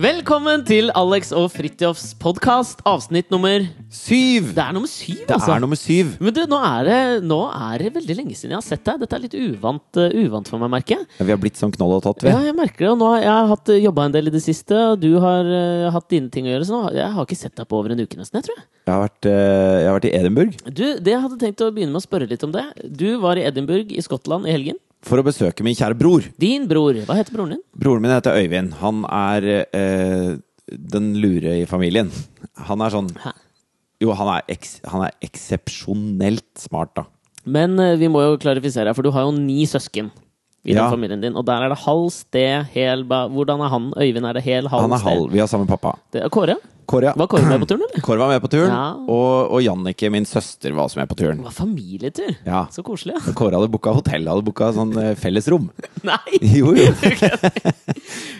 Velkommen til Alex og Fridtjofs podkast, avsnitt nummer Syv! Det er nummer syv, Det altså. er nummer syv. Men du, nå er, det, nå er det veldig lenge siden jeg har sett deg. Dette er litt uvant, eh, uvant for meg, merker jeg. Ja, Vi har blitt sånn knoll og tatt, vi. Ja, jeg merker det. Og nå har jeg hatt jobba en del i det siste, og du har eh, hatt dine ting å gjøre, så nå, har- jeg har ikke sett deg på over en uke nesten, jeg tror jeg. Jeg har vært, eh, jeg har vært i Edinburgh Du, det jeg hadde tenkt å begynne med å spørre litt om det. Du var i Edinburgh i Skottland i helgen. for å besøke min kjære bror. Din bror, hva heter broren din? Broren min heter Øyvind. Han er eh, den lure i familien. Han er sånn Hæ? Jo, han er, eks, han er eksepsjonelt smart, da. Men eh, vi må jo klarifisere her, for du har jo ni søsken i den Ja. familien din. Og der er det halv, sted, hel ba, Hvordan er han? Øyvind, er det hel, halv, Han er sted? halv. Vi har samme pappa. Det er Kåre? Kåre, ja. Var Kåre med på turen, eller? Kåre var med på turen. Ja. Og, og Jannicke, min søster, var også med på turen. Det var familietur. Ja. Så koselig. Og Kåre hadde booka hotell, hadde booka sånn eh, felles rom. Nei! Jo, jo.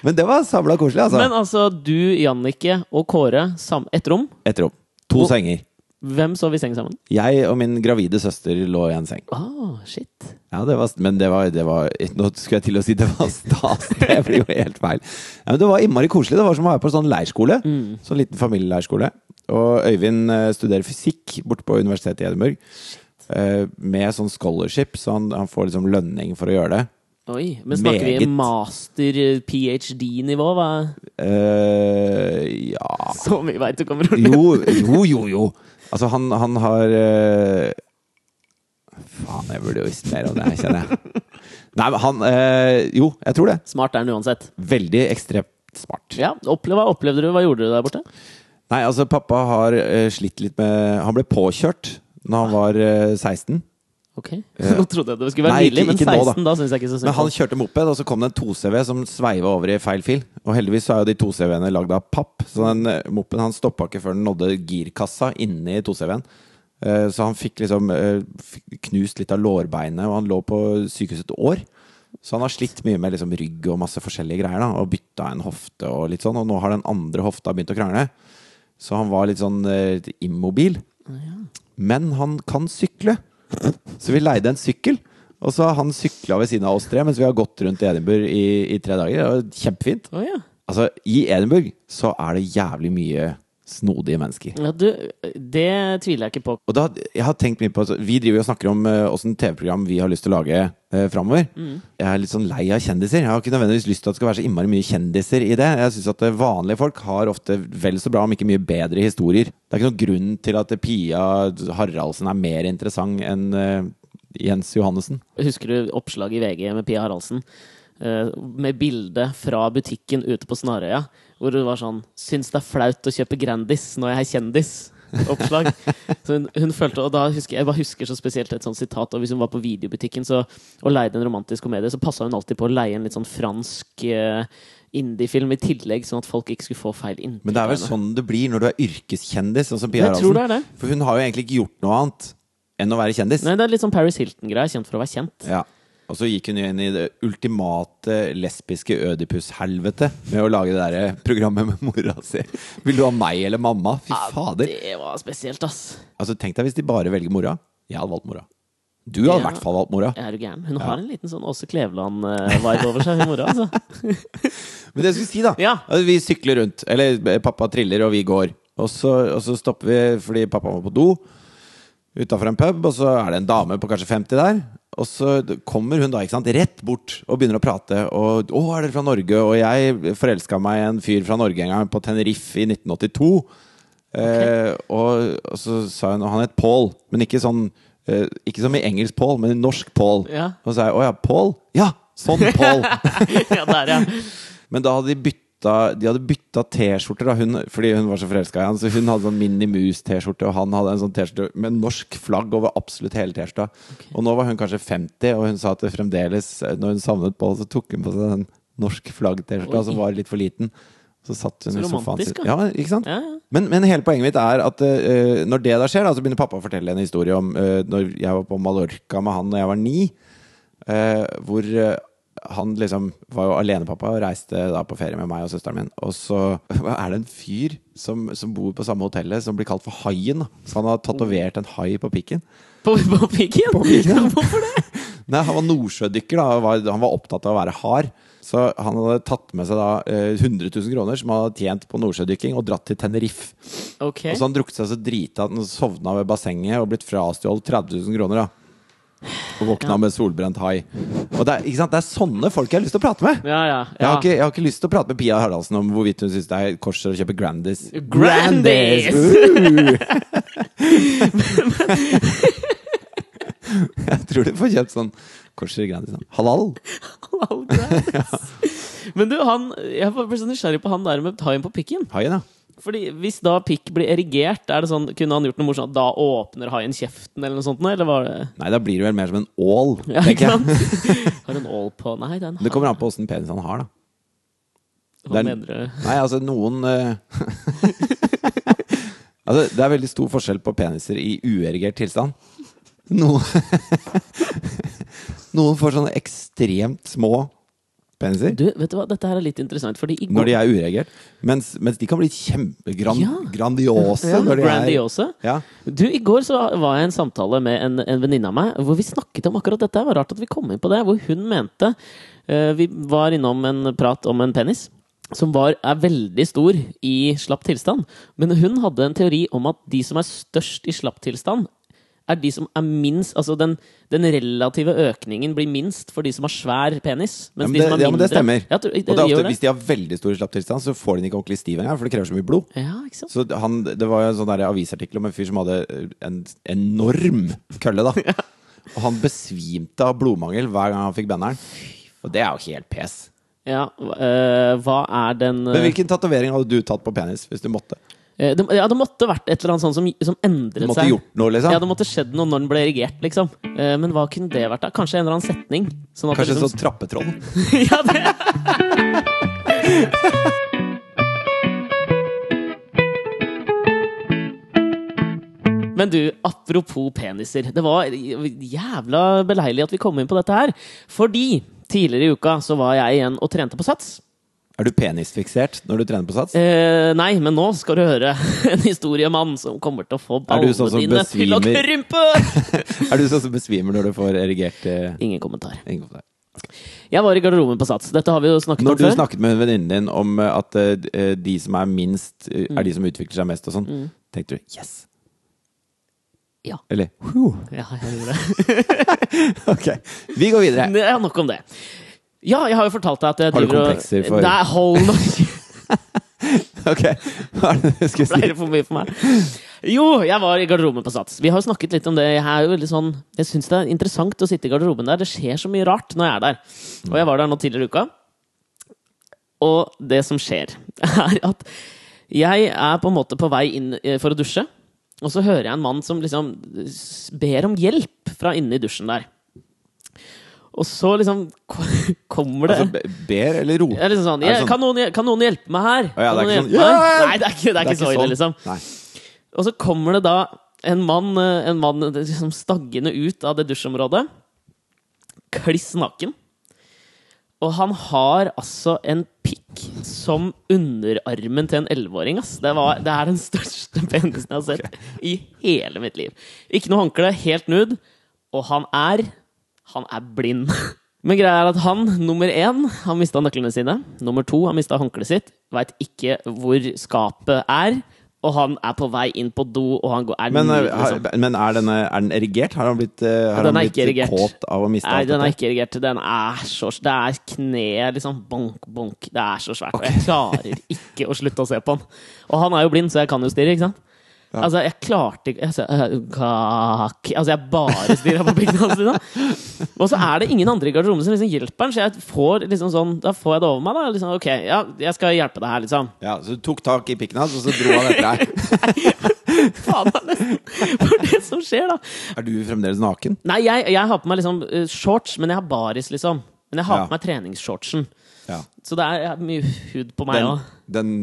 Men det var samla koselig, altså. Men altså, du, Jannicke og Kåre, sam ett rom. Et rom. To senger. Hvem sov i seng sammen? Jeg og min gravide søster lå i en seng. Ah, shit. Ja, det var, men det var, det var Nå skulle jeg til å si det var stas, det blir jo helt feil. Ja, men det var innmari koselig. Det var som å være på sånn leirskole. Sånn liten familieleirskole. Og Øyvind eh, studerer fysikk borte på universitetet i Edinburgh. eh, Med sånn scholarship, så han, han får liksom lønning for å gjøre det. Oi. Men snakker vi eh, Meget. master-ph.d.-nivå? Hva- Eh, ja Så mye veit du kommer til å Jo, jo, jo, jo. Altså, han, han har eh, Faen, jeg burde jo visst mer om det her, kjenner jeg. Nei, men han eh, Jo, jeg tror det. Smart er han uansett. Veldig ekstremt smart. Ja, opple Hva opplevde du? Hva gjorde du der borte? Nei, altså, pappa har eh, slitt litt med Han ble påkjørt når han var eh, 16. Ok, Nå trodde jeg det skulle være Nei, nydelig, ikke- men ikke nå, da. 16 da syns jeg ikke så synd Men han på. kjørte moped, og så kom det en 2CV som sveiva over i feil fil. Og heldigvis så er jo de 2CV-ene lagd av papp, så den eh, mopeden han stoppa ikke før den nådde girkassa inni 2CV-en. Eh, Så han fikk liksom eh, fikk knust litt av lårbeinet, og han lå på sykehuset et år. Så han har slitt mye med liksom rygg og masse forskjellige greier, da, og bytta en hofte og litt sånn. Og nå har den andre hofta begynt å krangle, så han var litt sånn eh, immobil. Men han kan sykle. Så vi leide en sykkel. Og så har han sykla ved siden av oss tre mens vi har gått rundt i Edinburgh i, i tre dager. Det var kjempefint. Å ja. Altså, i Edinburgh så er det jævlig mye snodige mennesker. ja, du, det tviler jeg ikke på. Og da, jeg har tenkt mye på altså, Vi driver jo og snakker om eh, åssen TV-program vi har lyst til å lage uh, framover. Mm. Jeg er litt sånn lei av kjendiser. Jeg har ikke nødvendigvis lyst til at det skal være så innmari mye kjendiser i det. Jeg syns at eh, vanlige folk har ofte vel så bra, om ikke mye bedre, historier. Det er ikke noen grunn til at eh, Pia Haraldsen er mer interessant enn eh, Jens Johannessen. Husker du oppslaget i VG med Pia Haraldsen? Eh, med bilde fra butikken ute på Snarøya, hvor det var sånn 'Syns det er flaut å kjøpe Grandis når jeg er kjendis'. Oppslag. Så hun, hun følte, og da husker Jeg jeg bare husker så spesielt et sånt sitat. Og hvis hun var på videobutikken så, og leide en romantisk komedie, så passa hun alltid på å leie en litt sånn fransk eh, indiefilm i tillegg, sånn at folk ikke skulle få feil inntrykk. Men det er av vel henne. sånn det blir når du er yrkeskjendis, sånn som Pia Jeg tror det er Haraldsen. det. For hun har jo egentlig ikke gjort noe annet enn å være kjendis. Nei, det er litt sånn Paris Hilton-greie. Kjent for å være kjent. Ja. Og så gikk hun jo inn i det ultimate lesbiske ødipus-helvete med å lage det der programmet med mora si. Vil du ha meg eller mamma? Fy fader. Det var spesielt, ass. Altså, tenk deg hvis de bare velger mora. Jeg hadde valgt mora. Du hadde Ja. i hvert fall valgt mora. Er du gæren? Hun har en liten sånn Åse Kleveland-vibe over seg, hun mora. Altså. Men det jeg skulle si, da. Ja. at Vi sykler rundt. Eller eh, pappa triller, og vi går. Og så, og så stopper vi fordi pappa må på do utafor en pub, og så er det en dame på kanskje 50 der. Og så kommer hun da ikke sant, rett bort og begynner å prate. Og 'Å, er dere fra Norge?' Og jeg forelska meg i en fyr fra Norge en gang, på Tenerife i 1982. Eh, og, og så sa hun Og han het Paul, men ikke sånn eh, Ikke som i engelsk Paul, men i norsk Paul. Ja. Og så sa jeg 'Å ja, Paul?' Ja, sånn Paul! ja, der, ja. Men da hadde de bytta De hadde bytta T-skjorter da, hun, fordi hun var så forelska i han. Så hun hadde sånn Minni Mus-T-skjorte, og han hadde en sånn T-skjorte med norsk flagg over absolutt hele T-skjorta. Og nå var hun kanskje 50, og hun sa at det fremdeles, når hun savnet Pål, så tok hun på seg den norsk flagg-T-skjorta Oi. som var litt for liten. Så satt hun Så i sofaen romantisk, sin. da. Ja, ikke sant? Ja, ja. Men, men hele poenget mitt er at eh, når det da skjer, da, så begynner pappa å fortelle en historie om eh, når jeg var på Mallorca med han da jeg var ni. eh, hvor eh, han liksom var jo alenepappa og reiste da på ferie med meg og søsteren min. Og så er det en fyr som, som bor på samme hotellet, som blir kalt for Haien. da. Så han har tatovert en hai på pikken. På, på pikken? På pikken. Hvorfor det? Nei, han var nordsjødykker, da. og Var, han var opptatt av å være hard. Så han hadde tatt med seg da eh, 100 000 kroner som han hadde tjent på nordsjødykking, og dratt til Tenerife. Ok. Og sånn. så han drukket seg så drita at han sovna ved bassenget og blitt frastjålet 30 000 kroner. da Og våkna Ja. med solbrent hai. Og det er, ikke sant? det er sånne folk jeg har lyst til å prate med! Ja, ja. Jeg, ja. har ikke, jeg har ikke lyst til å prate med Pia Haraldsen om hvorvidt hun syns det er kors å kjøpe Grandis. Grandis! Uh! jeg tror du får kjøpt sånn korser Grandis. sånn. Halal! Halal Grandis. Men du, han Jeg var så nysgjerrig på han der med haien på pikken. Haien, ja. Fordi Hvis da pikk blir erigert, er det sånn, kunne han gjort noe morsomt? Da åpner haien kjeften, eller noe sånt? Eller var det Nei, da blir det vel mer som en ål. Ja, tenker ikke jeg. sant? Har en ål på Nei, det er en Det kommer an på åssen penis han har, da. hai. det Hva er- mener du? Nei, altså noen eh, Altså, det er veldig stor forskjell på peniser i uerigert tilstand. Noen Noen får sånne ekstremt små peniser Du, vet du hva, dette her er litt interessant, fordi i går når de er ureagert. Mens, mens de kan bli Ja. kjempegrandiose ja, når de er Grandiose. ja. Du, I går så var jeg i en samtale med en, en venninne av meg, hvor vi snakket om akkurat dette. Det var rart at vi kom inn på det. Hvor hun mente eh, Vi var innom en prat om en penis. Som var, er veldig stor i slapp tilstand. Men hun hadde en teori om at de som er størst i slapp tilstand, er de som er minst Altså den, den relative økningen blir minst for de som har svær penis. Ja, Mens men de det, som er ja, men det mindre stemmer. Ja, tror- Og det er gjør ofte, det. hvis de har veldig stor slapp tilstand, så får de den ikke ordentlig stiv engang, for det krever så mye blod. Ja, ikke sant? Så han, det var jo en sånn der avisartikkel om en fyr som hadde eh, en enorm kølle, da. Og han besvimte av blodmangel hver gang han fikk benderen. Og det er jo helt pes. Ja, eh, hva er den Men hvilken tatovering hadde du tatt på penis hvis du måtte? Eh, Det, ja, det måtte vært et eller annet sånt som, som endret Du måtte seg. gjort noe, liksom? Ja, det måtte skjedd noe når den ble erigert, liksom. Eh, Men hva kunne det vært? da? Kanskje en eller annen setning? Sånn at Kanskje sånn- det en liksom... sånn trappetroll? ja, det... Men du, apropos peniser. Det var jævla beleilig at vi kom inn på dette her. Fordi tidligere i uka så var jeg igjen og trente på sats. Er du penisfiksert når du trener på sats? Eh, nei, men nå skal du høre en historiemann som kommer til å få Er du ballene sånn som dine til å besvimer? krympe! Er du sånn som besvimer når du får erigert eh, Ingen kommentar. ingen kommentar? Jeg var i garderoben på Sats. Dette har vi jo snakket Når om du før. snakket med venninnen din om eh, at eh, d- eh, de som er minst, eh, er de som utvikler seg mest og sånn, tenkte du 'yes'? Ja. Eller «Huh». ja, jeg gjorde det. Ok, vi går videre. Ja, nok om det. Ja, jeg har jo fortalt deg at jeg Har du driver og- komplekser for- Nei, hold nå Ok, hva er det du skulle Ble si? det for mye for meg? Jo, jeg var i garderoben på Sats. Vi har jo snakket litt om det. Jeg, er jo veldig sånn, jeg syns det er interessant å sitte i garderoben der. Det skjer så mye rart når jeg er der. Og jeg var der nå tidligere i uka. Og det som skjer, er at jeg er på en måte på vei inn eh, for å dusje. Og så hører jeg en mann som liksom s- ber om hjelp fra inne i dusjen der. Og så liksom k- kommer det Altså, be- ber Det eller er roper? liksom sånn, Er det «Ja, sånn- kan, noen, hjel- kan noen hjelpe meg her? Å ja, det er Kan ikke noen sånn, hjelpe meg?» «Hjelp!» Nei, det er ikke, det er ikke så ille, liksom. sånn. Nei. Og så kommer det da en mann, eh, en mann eh, liksom staggende ut av det dusjområdet. Kliss naken. Og han har altså en pikk som underarmen til en 11-åring. ass. Det, var- det er den største penisen jeg har sett i hele mitt liv. Ikke noe håndkle, helt nude. Og han er han er blind. Men greia er at han, nummer én, han mista nøklene sine. Nummer to, han mista håndkleet sitt. Veit ikke hvor skapet er. Og han er på vei inn på do, og han går, er Men, nyd, eh, har, liksom. men er, denne, er den erigert? Har han blitt, eh, har Den han er ikke blitt erigert. kåt av å miste Nei, alt den er dette? ikke erigert. Den er så Det er kneet liksom bonk, bonk. Det er så svært. Og jeg klarer ikke å slutte å se på han. Og han er jo blind, så jeg kan jo stirre, ikke sant? Altså, jeg klarte ikke altså, øh, kak- altså, jeg bare stirra på pikken hans. Liksom. Og så er det ingen andre i garderoben som liksom hjelper han, så jeg får liksom sånn Da får jeg det over meg, da. Liksom, ok, ja, jeg skal hjelpe deg her, liksom. Ja, så du tok tak i pikken hans, og så dro han etter deg. Faen, da, nesten. For det som skjer, da. Er du fremdeles naken? Nei, jeg, jeg har på meg liksom øh, shorts, men jeg har baris, liksom. Men jeg har Ja. på meg treningsshortsen. Ja. Så det er jeg har mye hud på meg Den, òg. den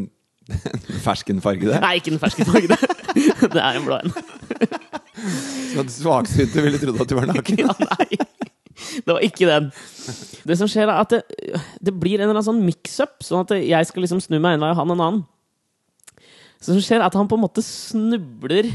den ferskenfargede? Nei, ikke den ferske fargen. Det er en blå en. Så at svaksynte ville trodd at du var naken? Ja, nei. Det var ikke den. Det som skjer, er at det, det blir en eller annen sånn mix-up, sånn at jeg skal liksom snu meg en vei og han en annen. Så det som skjer, er at han på en måte snubler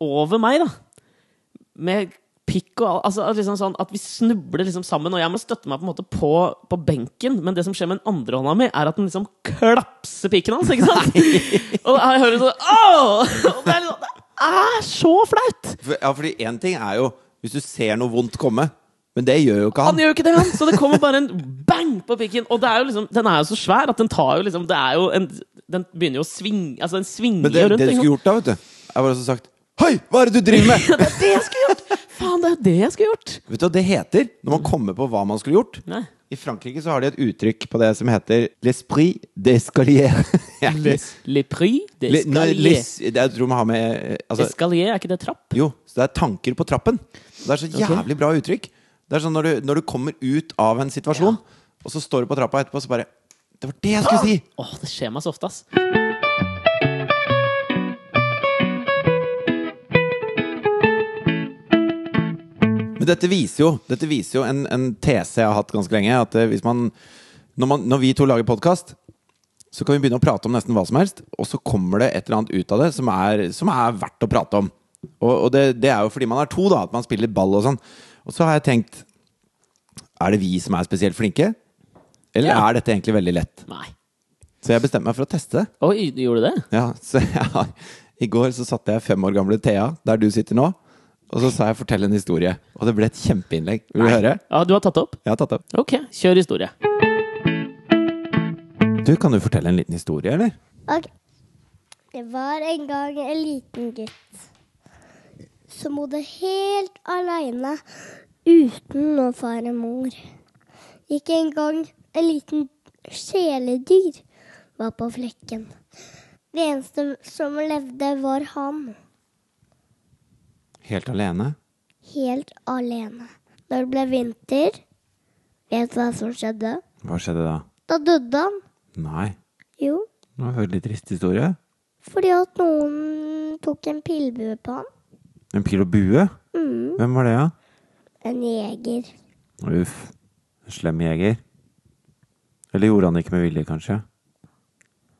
over meg, da. Med pikk og al- altså, at liksom sånn At vi snubler liksom sammen. Og jeg må støtte meg på en måte på, på benken, men det som skjer med den andre hånda mi, er at den liksom klapser pikken hans, ikke sant? og da hører du sånn Åh! Og det er liksom Det er så flaut! For, ja, fordi én ting er jo hvis du ser noe vondt komme, men det gjør jo ikke han. Han gjør jo ikke det, han! Så det kommer bare en bang på pikken. Og det er jo liksom, den er jo så svær at den tar jo liksom Det er jo en Den begynner jo å svinge Altså, den svinger Men det, jo rundt. det du ikke sant? skulle gjort da, vet du Jeg bare så sagt Hei, hva er det du driver med? Ja, det er det jeg skulle gjort! Faen, det er det jeg skulle gjort! vet du hva det heter når Mm. man kommer på hva man skulle gjort? Nei. I Frankrike så har de et uttrykk på det som heter l'esprit d'escalier. Les, le prix Le- nei, d'escalier. les- det jeg tror man har med eh, altså, Escalier, er ikke det trapp? Jo, så det er tanker på trappen. Det er så jævlig bra uttrykk. Det er sånn når du, når du kommer ut av en situasjon, og så står du på trappa etterpå, så bare Det var det jeg skulle si! Åh, det skjer meg så ofte, ass. Men dette viser jo, dette viser jo en, en tese jeg har hatt ganske lenge. At eh, hvis man når, man, når vi to lager podkast, så kan vi begynne å prate om nesten hva som helst, og så kommer det et eller annet ut av det som er, som er verdt å prate om. Og, og det, det er jo fordi man er to, da, at man spiller ball og sånn. Og så har jeg tenkt Er det vi som er spesielt flinke? Eller Ja. er dette egentlig veldig lett? Nei. Så jeg bestemte meg for å teste det. Oi, du gjorde det? Ja, så jeg har I går så satte jeg fem år gamle Thea der du sitter nå, og så sa jeg 'fortell en historie'. Og det ble et kjempeinnlegg. Vil du høre? Ja, du har tatt det opp? Jeg har tatt det opp. Ok, kjør historie. Du, kan du fortelle en liten historie, eller? Ok. Det var en gang en liten gutt som bodde helt aleine uten noen far og mor. Ikke engang en liten kjæledyr var på flekken. Det eneste som levde, var han. Helt alene? Helt alene. Når det ble vinter, vet du hva som skjedde? Hva skjedde da? Da døde han. Nei. Jo, Det var en veldig trist historie. fordi at noen tok en pillebue på han. En pil og bue? Mm, Hvem var det, da? en jeger. Uff. En slem jeger. Eller gjorde han det ikke med vilje, kanskje?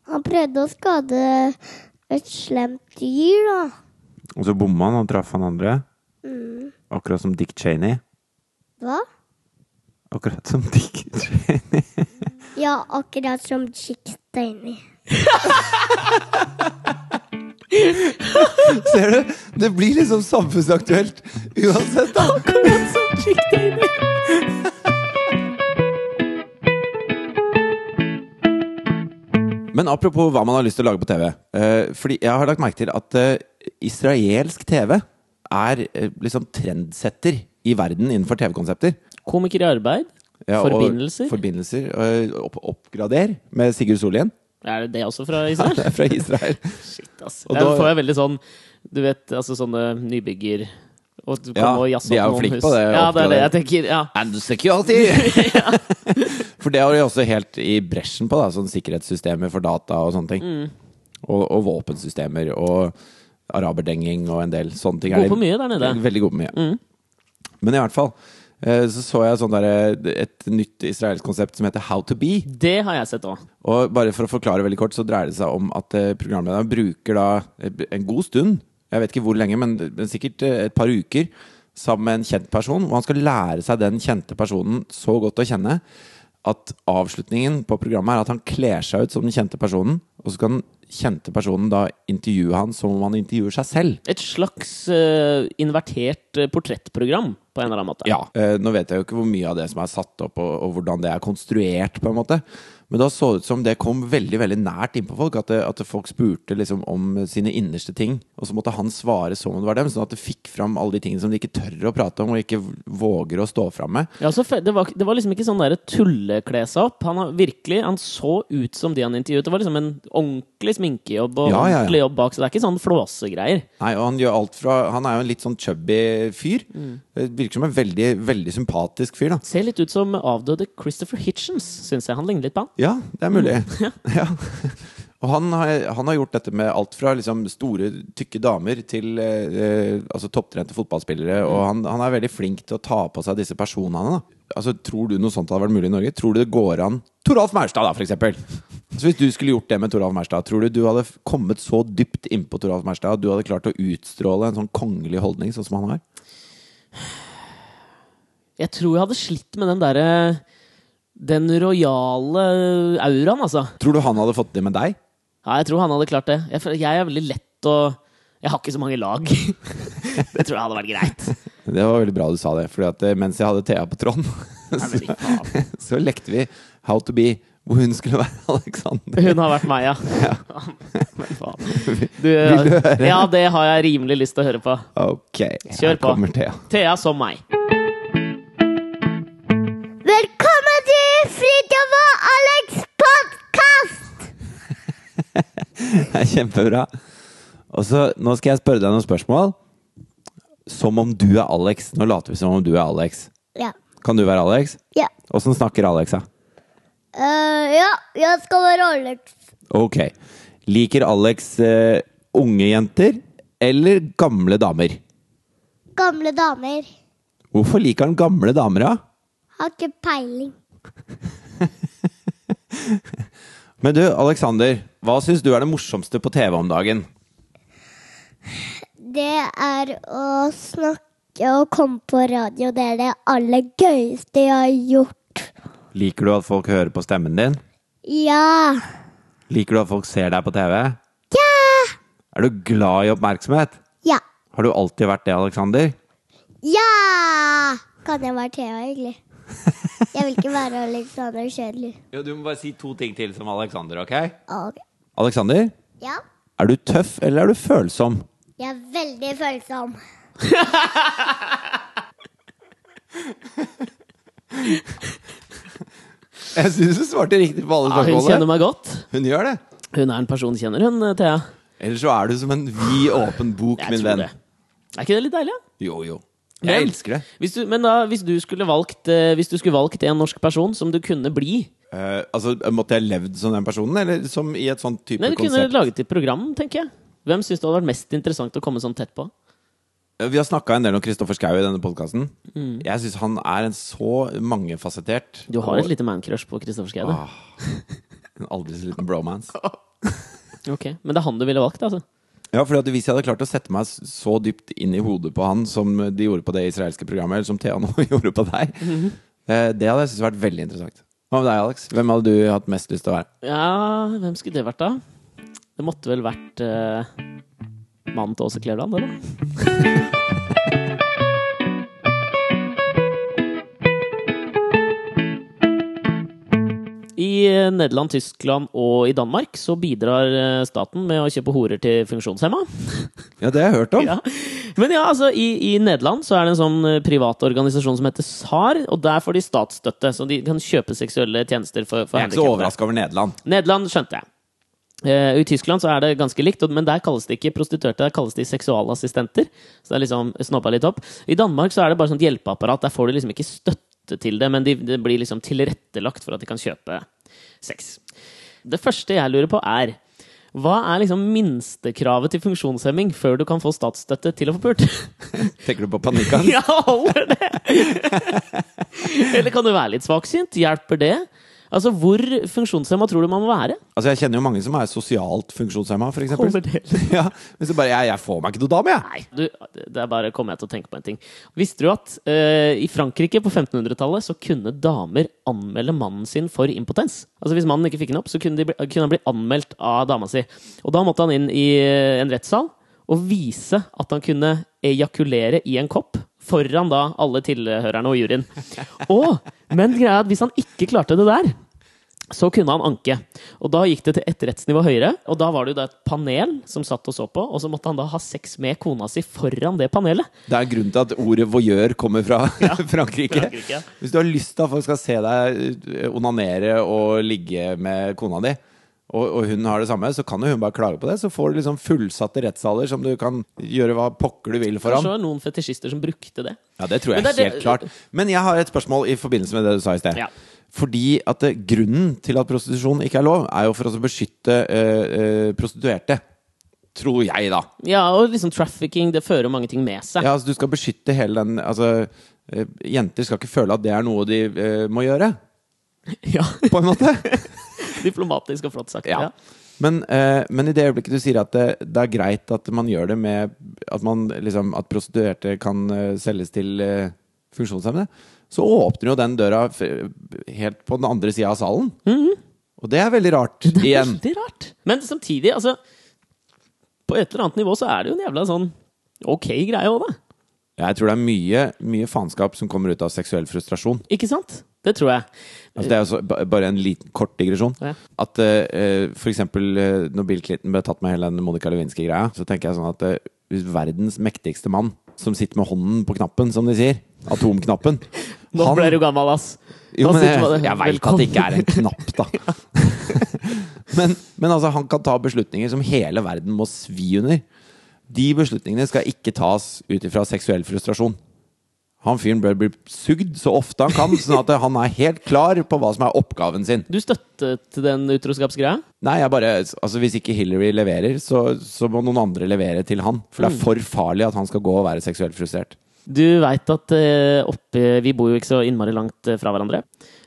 Han prøvde å skade et slemt dyr, da. Og så bomma han og traff han andre. Mm. Akkurat som Dick Cheney. Hva? Akkurat som Dick Cheney. Ja, akkurat som Chick Steiny. Ser du? Det blir liksom samfunnsaktuelt uansett, da. Akkurat som Chick Daily. Men apropos hva man har lyst til å lage på TV. eh, fordi jeg har lagt merke til at eh, israelsk TV er eh, liksom trendsetter i verden innenfor TV-konsepter. Komiker i arbeid. Ja, og Forbindelser. Forbindelser. eh, opp oppgrader med Sigurd Solhjen. er det det også fra Ja, Israel? det er Fra Israel. Shit, ass. Og Der da- får jeg veldig sånn Du vet, altså sånne nybygger og du Ja, kommer og jazzer de er opp jo noen flinke hus. på det, Ja, det er det oppgradering. jeg tenker. Ja. And security! for det har de også helt i bresjen på, da. Sånn sikkerhetssystemer for data og sånne ting. Mm. Og, og våpensystemer og araberdenging og en del sånne ting. er Gode de- på mye der nede. Mm. Veldig gode på mye. Men i hvert fall eh, så så jeg sånn der, eh, et nytt israelsk konsept som heter How to be. Det har jeg sett òg. Og bare for å forklare veldig kort, så dreier det seg om at eh, programlederen bruker da eh, en god stund, jeg vet ikke hvor lenge, men men sikkert eh, et par uker, sammen med en kjent person, og han skal lære seg den kjente personen så godt å kjenne at avslutningen på programmet er at han kler seg ut som den kjente personen, og så kan den kjente personen da intervjue han som om han intervjuer seg selv. Et slags eh, invertert eh, portrettprogram, på en eller annen måte. Ja, eh, nå vet jeg jo ikke hvor mye av det som er satt opp, og, og hvordan det er konstruert, på en måte. Men da så det ut som det kom veldig veldig nært innpå folk. At, det, at det folk spurte liksom om sine innerste ting, og så måtte han svare som om det var dem. Sånn at det fikk fram alle de tingene som de ikke tør å prate om, og ikke våger å stå fram med. Ja, så fe- det, var, det var liksom ikke sånn der tullekle seg opp. Han, har virkelig, han så ut som de han intervjuet. Det var liksom en ordentlig sminkejobb og Ja, ja, ja. ordentlig jobb bak. Så det er ikke sånn flåsegreier. Nei, og han gjør alt fra Han er jo en litt sånn chubby fyr. Eh, Virker som en veldig, veldig sympatisk fyr, da. Ser litt ut som avdøde Christopher Hitchens, syns jeg. Han ligner litt på han. Ja, det er mulig. Ja. Og han har, han har gjort dette med alt fra liksom store, tykke damer til eh, eh, altså topptrente fotballspillere. Og han, han er veldig flink til å ta på seg disse personene. Da. Altså, tror du noe sånt hadde vært mulig i Norge? Tror du det går an Toralf Maurstad, da, for eksempel. Altså, hvis du skulle gjort det med Toralf Maurstad, tror du du hadde f- kommet så dypt innpå Toralf Maurstad at du hadde klart å utstråle en sånn kongelig holdning, sånn som han har? Jeg tror jeg hadde slitt med den derre Den rojale auraen, altså. Tror du han hadde fått det med deg? Ja, jeg tror han hadde klart det. Jeg, føler- jeg er veldig lett å Jeg har ikke så mange lag. Jeg tror det hadde vært greit. Det var veldig bra du sa det, Fordi at eh, mens jeg hadde Thea på tråden, Nei, men, fy faen. så lekte vi How to be, hvor hun skulle være Alexander. Hun har vært meg, ja. Men faen. Du, Vil du høre? ja, det har jeg rimelig lyst til å høre på. Ok, Kjør her på. kommer Thea. Thea som meg. Velkommen til Fridtjof og Alex podkast! Det er kjempebra. Og så, nå skal jeg spørre deg noen spørsmål. Som om du er Alex. Nå later vi som om du er Alex. Ja. Kan du være Alex? Ja. Åssen snakker Alex, da? Eh, ja, jeg skal være Alex. Ok. Liker Alex eh, unge jenter eller gamle damer? Gamle damer. Hvorfor liker han gamle damer, da? Har ikke peiling. Men du, Alexander, hva syns du er det morsomste på TV om dagen? Det er å snakke og komme på radio. Det er det aller gøyeste jeg har gjort. Liker du at folk hører på stemmen din? Ja. Liker du at folk ser deg på TV? Ja. Er du glad i oppmerksomhet? Ja. Har du alltid vært det, Alexander? Ja! Kan jeg være Thea, egentlig? Jeg vil ikke være Alexander Kjedelig. Jo, du må bare si to ting til som Alexander, ok? Ok. Alexander, Ja. er du tøff eller er du følsom? Jeg er veldig følsom. Jeg syns du svarte riktig på alle Ja, hun kjenner meg godt. Hun gjør det. Hun er en person kjenner hun, eh, Thea. Eller så er du som en vid, åpen bok, Jeg min tror venn. det. Er ikke det litt deilig? da? Jo, jo. Men- Jeg elsker det. Hvis du, men da, hvis du skulle valgt eh, Hvis du skulle valgt en norsk person som du kunne bli Eh, altså, Måtte jeg levd som den personen, eller som i et sånt type Nei, du kunne konsept? laget et program, tenker jeg. Hvem syns det hadde vært mest interessant å komme sånn tett på? Eh, Vi har snakka en del om Kristoffer Schou i denne podkasten. Jeg syns han er en så mangefasettert Mm. Du har et og lite mancrush på Kristoffer Schei, du. Ah. en aldri så liten bromance. Ok, Men det er han du ville valgt, altså? Ja, fordi at Hvis jeg hadde klart å sette meg s- så dypt inn i hodet på han som de gjorde på det israelske programmet, eller som Thea nå gjorde på deg, Mhm. eh, det hadde jeg syntes vært veldig interessant. Hva med deg, Alex? Hvem hadde du hatt mest lyst til å være? Ja, hvem skulle det vært, da? Det måtte vel vært eh, mannen til Åse Kleveland, det, da. I eh, Nederland, Tyskland og i Danmark så bidrar eh, staten med å kjøpe horer til funksjonshemma. Ja, det har jeg hørt om. Ja. Men ja, altså, i, i Nederland så er det en sånn eh, privat organisasjon som heter SAR, og der får de statsstøtte, så de kan kjøpe seksuelle tjenester for, for Jeg er ikke så handikappede. overraska over Nederland. Nederland skjønte jeg. Eh, og I Tyskland så er det ganske likt, og- men der kalles det ikke prostituerte, der kalles de seksualassistenter. Så det er liksom snobba litt opp. I Danmark så er det bare sånt hjelpeapparat, der får du liksom ikke støtte til det, men de, det blir liksom tilrettelagt for at de kan kjøpe sex. Det første jeg lurer på er hva er liksom minstekravet til funksjonshemming før du kan få statsstøtte til å få pult? Tenker du på panikkangst? Ja, holder det! Eller kan du være litt svaksynt? Hjelper det? Altså, Hvor funksjonshemma tror du man må være? Altså, jeg kjenner jo mange som er sosialt funksjonshemma, for eksempel. Kommer det- Ja, men så bare jeg, jeg får meg ikke noe dame, jeg. Nei, du, det er bare kom jeg til å tenke på en ting. Visste du at eh, i Frankrike på 1500-tallet så kunne damer anmelde mannen sin for impotens? Altså Hvis mannen ikke fikk henne opp, så kunne, de bli, kunne han bli anmeldt av dama si. Og da måtte han inn i eh, en rettssal og vise at han kunne ejakulere i en kopp. Foran da alle tilhørerne og juryen. Og, men greia er at hvis han ikke klarte det der, så kunne han anke. Og da gikk det til et rettsnivå høyere, og da var det jo da et panel som satt og så på, og så måtte han da ha sex med kona si foran det panelet. Det er grunnen til at ordet voyeur kommer fra Frankrike. Frankrike, ja. Hvis du har lyst til at folk skal se deg eh, onanere og ligge med kona di, og, og hun har det samme, så kan jo hun bare klage på det. Så får du liksom fullsatte rettssaler som du kan gjøre hva pokker du vil Kanskje foran. det var noen fetisjister som brukte det. Ja, det tror jeg Men det er helt det- klart. Men jeg har et spørsmål i forbindelse med det du sa i sted. Ja. Fordi at eh, grunnen til at prostitusjon ikke er lov, er jo for oss å beskytte eh, eh, prostituerte. Tror jeg, da. Ja, og liksom trafficking, det fører mange ting med seg. Ja, altså Du skal beskytte hele den Altså, eh, jenter skal ikke føle at det er noe de eh, må gjøre, Ja, på en måte. diplomatisk og flott sagt. Ja. Ja. Men, eh, men i det øyeblikket du sier at det, det er greit at man gjør det med At, man, liksom, at prostituerte kan eh, selges til eh, funksjonshemmede, så åpner jo den døra f helt på den andre sida av salen. Og Mhm. det er veldig rart. igjen. Veldig rart. Men samtidig, altså På et eller annet nivå så er det jo en jævla sånn ok greie òg, da. Jeg tror det er mye, mye faenskap som kommer ut av seksuell frustrasjon. Ikke sant? Det tror jeg. Altså, det er jo så- ba- bare en liten, kort digresjon. Ja. At eh, eh, for eksempel eh, når Bill Clinton ble tatt med hele den Monica Lewinsky-greia, så tenker jeg sånn at eh, hvis verdens mektigste mann, som sitter med hånden på knappen, som de sier, atomknappen Nå han- ble du gammel, ass. jo, Nå men sitter man- jeg, jeg veit at det ikke er en knapp, da. men, men altså, han kan ta beslutninger som hele verden må svi under. De beslutningene skal ikke tas ut ifra seksuell frustrasjon. Han fyren bør bli sugd så ofte han kan, sånn at han er helt klar på hva som er oppgaven sin. Du støttet den utroskapsgreia? Nei, jeg bare, altså Hvis ikke Hillary leverer, så, så må noen andre levere til han. For Mm. det er for farlig at han skal gå og være seksuelt frustrert. Du veit at eh, oppe Vi bor jo ikke så innmari langt eh, fra hverandre.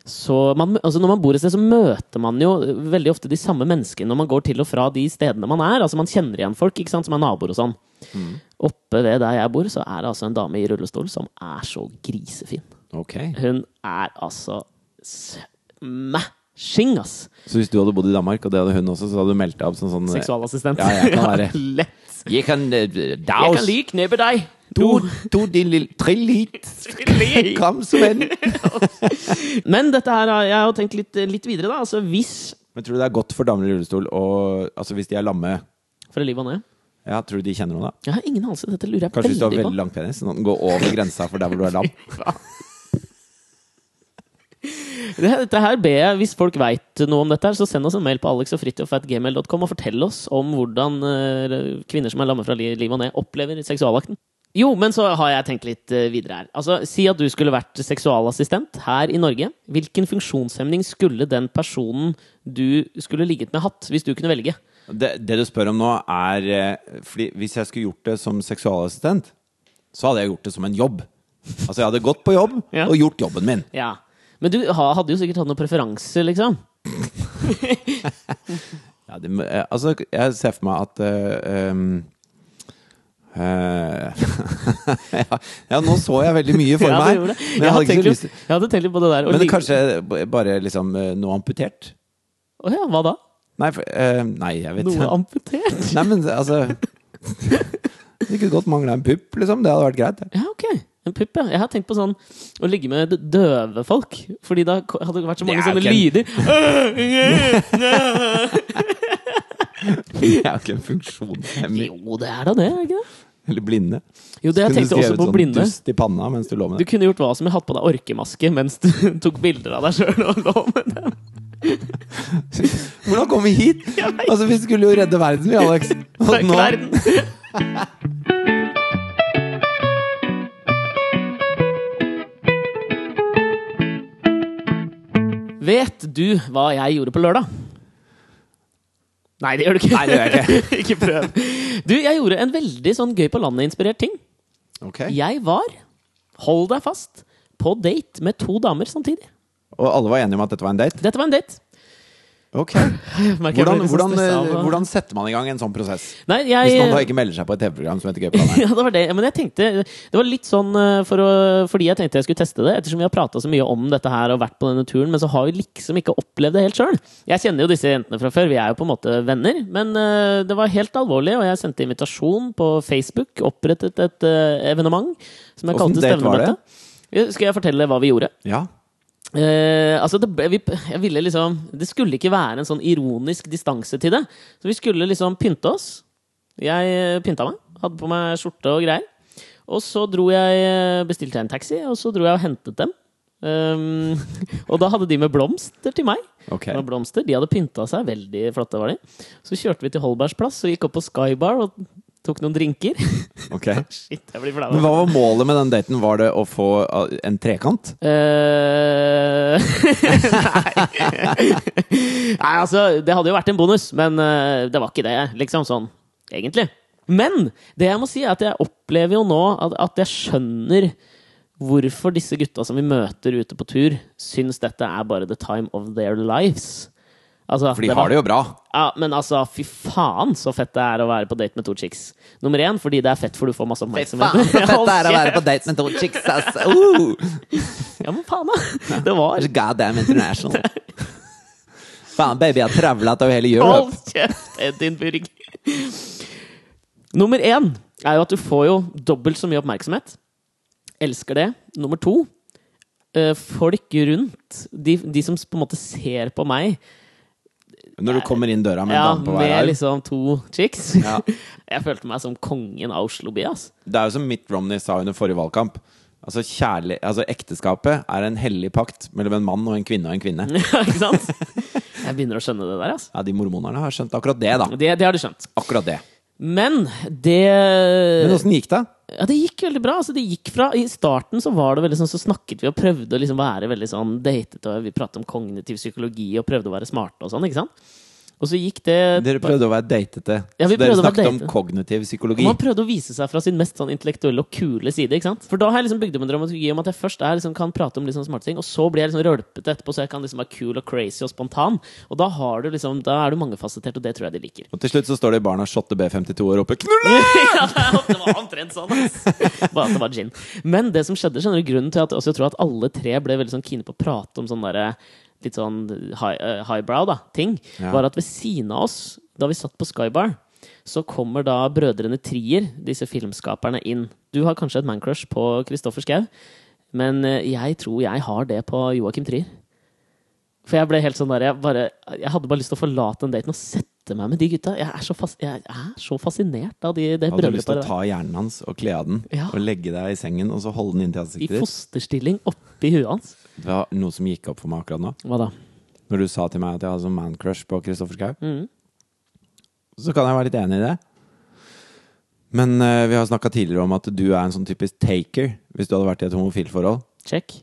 Så man, altså når man bor et sted, så møter man jo veldig ofte de samme menneskene når man går til og fra de stedene man er. Altså Man kjenner igjen folk ikke sant, som er naboer og sånn. Oppe ved der jeg bor, så er det altså en dame i rullestol som er så grisefin. Ok Hun er altså smashing, ass! Så hvis du hadde bodd i Danmark, og det hadde hun også, så hadde du meldt deg opp som sånn Seksualassistent. Ja, jeg kan være- Lett. Jeg kan eh, Jeg daus. kan like knebe deg! To, to din lille Trill hit. Kom, Sven. Men dette her, har- jeg har jo tenkt litt, litt videre, da. Altså hvis Men tror du det er godt for damer i rullestol og Altså, hvis de er lamme Fra livet og ned. Ja, tror du de kjenner noe da? Jeg har ingen anelse. Dette lurer jeg Kanskje hvis du har veldig veldig på. lang penis, sånn at den går over grensa for der hvor du er lam? Det- Dette her ber jeg, Hvis folk veit noe om dette, her, så send oss en mail på alexogfritjofatgmail.com og fortell oss om hvordan eh, kvinner som er lamme fra li- livet og ned, opplever seksualakten. Jo, men så har jeg tenkt litt eh, videre her. Altså, Si at du skulle vært seksualassistent her i Norge. Hvilken funksjonshemning skulle den personen du skulle ligget med, hatt, hvis du kunne velge? Det, det du spør om nå, er eh, Fordi hvis jeg skulle gjort det som seksualassistent, så hadde jeg gjort det som en jobb. Altså, jeg hadde gått på jobb Ja. og gjort jobben min. Ja. Men du ha- hadde jo sikkert hatt noen preferanser, liksom. Ja, det, må- eh, altså, jeg ser for meg at eh, um, eh, ja, ja, nå så jeg veldig mye for Ja, du meg. gjorde det. Men Jeg hadde jeg hadde ikke tenkt så litt- lyst til jeg hadde tenkt litt på det der. å Men ligge- kanskje b- bare liksom eh, noe amputert? Å ja, hva da? Nei, for, eh, nei jeg vet Noe ikke. amputert? Nei, men altså Det kunne godt mangla en pupp, liksom. Det hadde vært greit. Ja, ok. En pupp, ja. Jeg har tenkt på sånn å ligge med d- døve folk. Fordi da ko- hadde det vært så Det mange er jo sånne ikke lyder. Jeg har ikke en funksjonshemming. Jo, det er da det, er det ikke det? Eller blinde. Jo, det jeg Kunne du tenkte også skrevet på sånn blinde. dust i panna mens du lå med Du det. kunne gjort hva som helst. Hatt på deg orkemaske mens du tok bilder av deg sjøl og lå med dem. Hvordan kom vi hit? Altså, Vi skulle jo redde verden, vi, Alex. Og Takk, nå- verden. Vet du hva jeg gjorde på lørdag? Nei, det gjør du ikke. Nei, det gjør jeg ikke. prøv. Du, jeg gjorde en veldig sånn gøy på landet-inspirert ting. Ok. Jeg var, hold deg fast, på date med to damer samtidig. Og alle var enige om at dette var en date? Dette var en date. Ok. Jeg merker jeg Hvordan, blir litt sånn hvordan, eh, stresset av å- hvordan setter man i gang en sånn prosess? Nei, eh, jeg, Hvis man da ikke melder seg på et TV-program som heter Gøyplanet? Ja, det var det. Men jeg tenkte Det var litt sånn eh, for å, fordi jeg tenkte jeg skulle teste det, ettersom vi har prata så mye om dette her og vært på denne turen, men så har vi liksom ikke opplevd det helt sjøl. Jeg kjenner jo disse jentene fra før, vi er jo på en måte venner, men eh, det var helt alvorlig, og jeg sendte invitasjon på Facebook, opprettet et eh, evenement som jeg Hvordan kalte date var det? Stevnemøte. Skal jeg fortelle hva vi gjorde? Ja. Eh, altså det, ble- vi, jeg ville liksom Det skulle ikke være en sånn ironisk distanse til det. Så vi skulle liksom pynte oss. Jeg eh, pynta meg. Hadde på meg skjorte og greier. Og så dro jeg eh, bestilte jeg en taxi, og så dro jeg og hentet dem. Um, og da hadde de med blomster til meg. Ok. Det var blomster, De hadde pynta seg. Veldig flotte var de. Så kjørte vi til Holbergs plass og gikk opp på Sky Bar og tok noen drinker. ok. Shit, jeg blir flau. Men hva var målet med den daten? Var det å få uh, en trekant? Eh, Nei. Nei, altså, det hadde jo vært en bonus, men eh, det var ikke det, liksom, sånn, egentlig. Men det jeg må si, er at jeg opplever jo nå at, at jeg skjønner hvorfor disse gutta som vi møter ute på tur, syns dette er bare the time of their lives. Altså, For de har det jo bra. Ja, men altså, fy faen så fett det er å være på date med to chicks. Nummer én, fordi det er fett, for du får masse Fy faen, oppmerksomhet. så fett det er å Ja, være på date med to chicks, ass! Uh, Ja, men faen, da! Det var God damn international. Faen, baby, jeg har travla til hele Europe. Hold kjeft, Edinburgh! Nummer én er jo at du får jo dobbelt så mye oppmerksomhet. Elsker det. Nummer to eh, Folk rundt, de, de som på en måte ser på meg Når du kommer inn døra med en ja, dame på hver med arm. liksom to chicks Ja. Jeg følte meg som kongen av Oslo by, ass. Det er jo som Mitt Romney sa under forrige valgkamp. Altså, kjærlig, altså Ekteskapet er en hellig pakt mellom en mann og en kvinne og en kvinne. Ja, ikke sant? Jeg begynner å skjønne det der, ass. Ja, De mormonerne har skjønt akkurat det, da. Det, det har du skjønt. Akkurat det. Men det Men åssen gikk det? Ja, det gikk veldig bra. Altså, det gikk fra, I starten så var det veldig sånn, så snakket vi og prøvde å liksom være veldig sånn datet, og vi pratet om kognitiv psykologi og prøvde å være smarte og sånn, ikke sant? Og så gikk det Dere prøvde å være datete. Ja, vi så dere prøvde å være snakket om datete. kognitiv psykologi. Man prøvde å vise seg fra sin mest sånn intellektuelle og kule side. ikke sant? For da har jeg liksom bygd opp en dramaturgi om at jeg først er, liksom, kan prate om liksom smarte ting, og så blir jeg liksom rølpete etterpå, så jeg kan liksom være kul og crazy og spontan. Og da, har du liksom, da er du mangefasettert, og det tror jeg de liker. Og til slutt så står det i baren og shotter B52 år oppe. Knulle! ja, det var omtrent sånn, ass. Bare at det var gin. Men det som skjedde, skjønner du grunnen til at også jeg tror at alle tre ble veldig sånn kine på å prate om sånn derre litt sånn high, eh, highbrow da, ting, Ja. var at ved siden av oss, da vi satt på Skybar, så kommer da brødrene Trier, disse filmskaperne, inn. Du har kanskje et mancrush på Kristoffer Schau, men eh, jeg tror jeg har det på Joakim Trier. For jeg ble helt sånn der jeg, bare, jeg hadde bare lyst til å forlate den daten og sette meg med de gutta. Jeg er så, fas, jeg er så fascinert av de, det Hadde du lyst bryllupet. til å der. ta hjernen hans og kle av den, Ja. og legge deg i sengen og så holde den I inntil ansiktet ditt? fosterstilling oppi huet hans. Det var noe som gikk opp for meg akkurat nå. Hva da? Når du sa til meg at jeg hadde sånn man-crush på Kristoffer Schau. Mm. Så kan jeg være litt enig i det. Men eh, vi har snakka tidligere om at du er en sånn typisk taker hvis du hadde vært i et homofilt forhold. Check.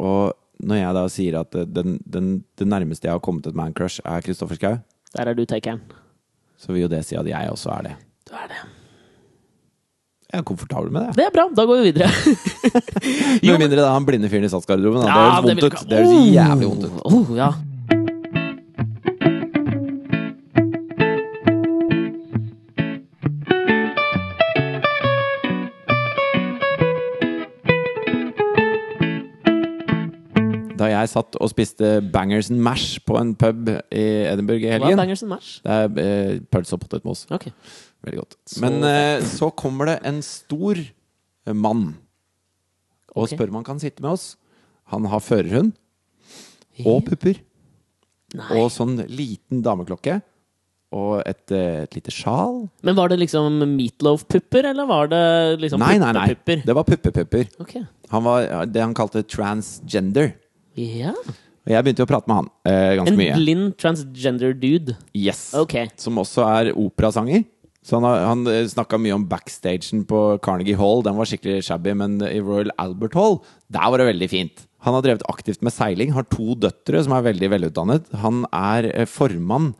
Og når jeg da sier at eh, den, den, det nærmeste jeg har kommet et man-crush, er Kristoffer Schau, Der er du takeren. så vil jo det si at jeg også er det. Du er det. Jeg er komfortabel med det. Det er bra, da går vi videre. Jo, Med mindre det er han blinde fyren i statsgarderoben. Da. Ja, det vil høres du ikke ha. vondt ut. Det høres Oh, jævlig vondt ut. Oh, ja. Da jeg satt og spiste bangers and mash på en pub i Edinburgh i Hva er helgen bangers and mash? Det er eh, pølse og potetmos. Ok. Veldig godt. Men eh, så kommer det en stor eh, mann og Ok. spør om han kan sitte med oss. Han har førerhund og pupper Nei. og sånn liten dameklokke. Og et, eh, et lite sjal. Men var det liksom meatloaf-pupper, eller var det liksom Nei, nei, nei. puppepupper? Det var puppepupper. Ok. Han var ja, det han kalte transgender. Ja. Og jeg begynte jo å prate med han eh, ganske En mye. blind transgender dude. Yes. Ok. Som også er operasanger. Så han, har- han eh, snakka mye om backstagen på Carnegie Hall. Den var skikkelig shabby, men i Royal Albert Hall, der var det veldig fint. Han har drevet aktivt med seiling, har to døtre som er veldig velutdannet. Han er eh, formann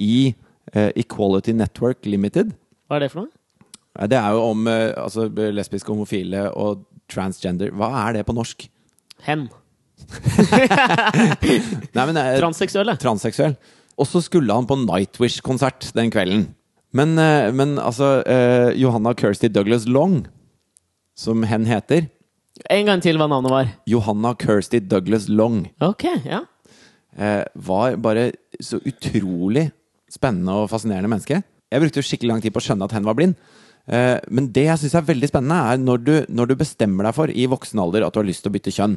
i eh, Equality Network Limited. Hva er det for noe? Eh, Det er jo om eh, altså, lesbiske, homofile og transgender. Hva er det på norsk? Hen. Nei, men, eh, Transseksuelle. transseksuell. Og så skulle han på Nightwish-konsert den kvelden. Men, eh, men altså eh, Johanna Kirsty Douglas Long, som hen heter En gang til hva navnet var. Johanna Kirsty Douglas Long Ok, ja. eh, var bare så utrolig spennende og fascinerende menneske. Jeg brukte jo skikkelig lang tid på å skjønne at hen var blind. Eh, men det jeg syns er veldig spennende, er når du, når du bestemmer deg for i voksen alder at du har lyst til å bytte kjønn.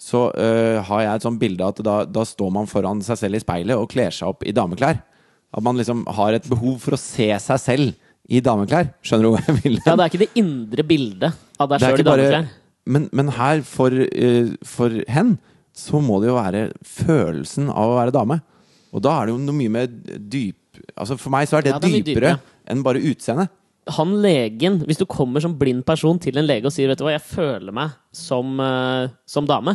Så eh, har jeg et sånt bilde at da, da står man foran seg selv i speilet og kler seg opp i dameklær. At man liksom har et behov for å se seg selv i dameklær. Skjønner du hva jeg vil? Ja, det er ikke det indre bildet av deg Det er sjøl i ikke bare dameklær. men, men her, for, eh, for hen, så må det jo være følelsen av å være dame. Og da er det jo noe mye mer dyp Altså For meg så er det, Ja, det er mye dypere dypere. enn bare utseendet. Han legen, hvis du kommer som blind person til en lege og sier Vet du hva, jeg føler meg som, eh, som dame.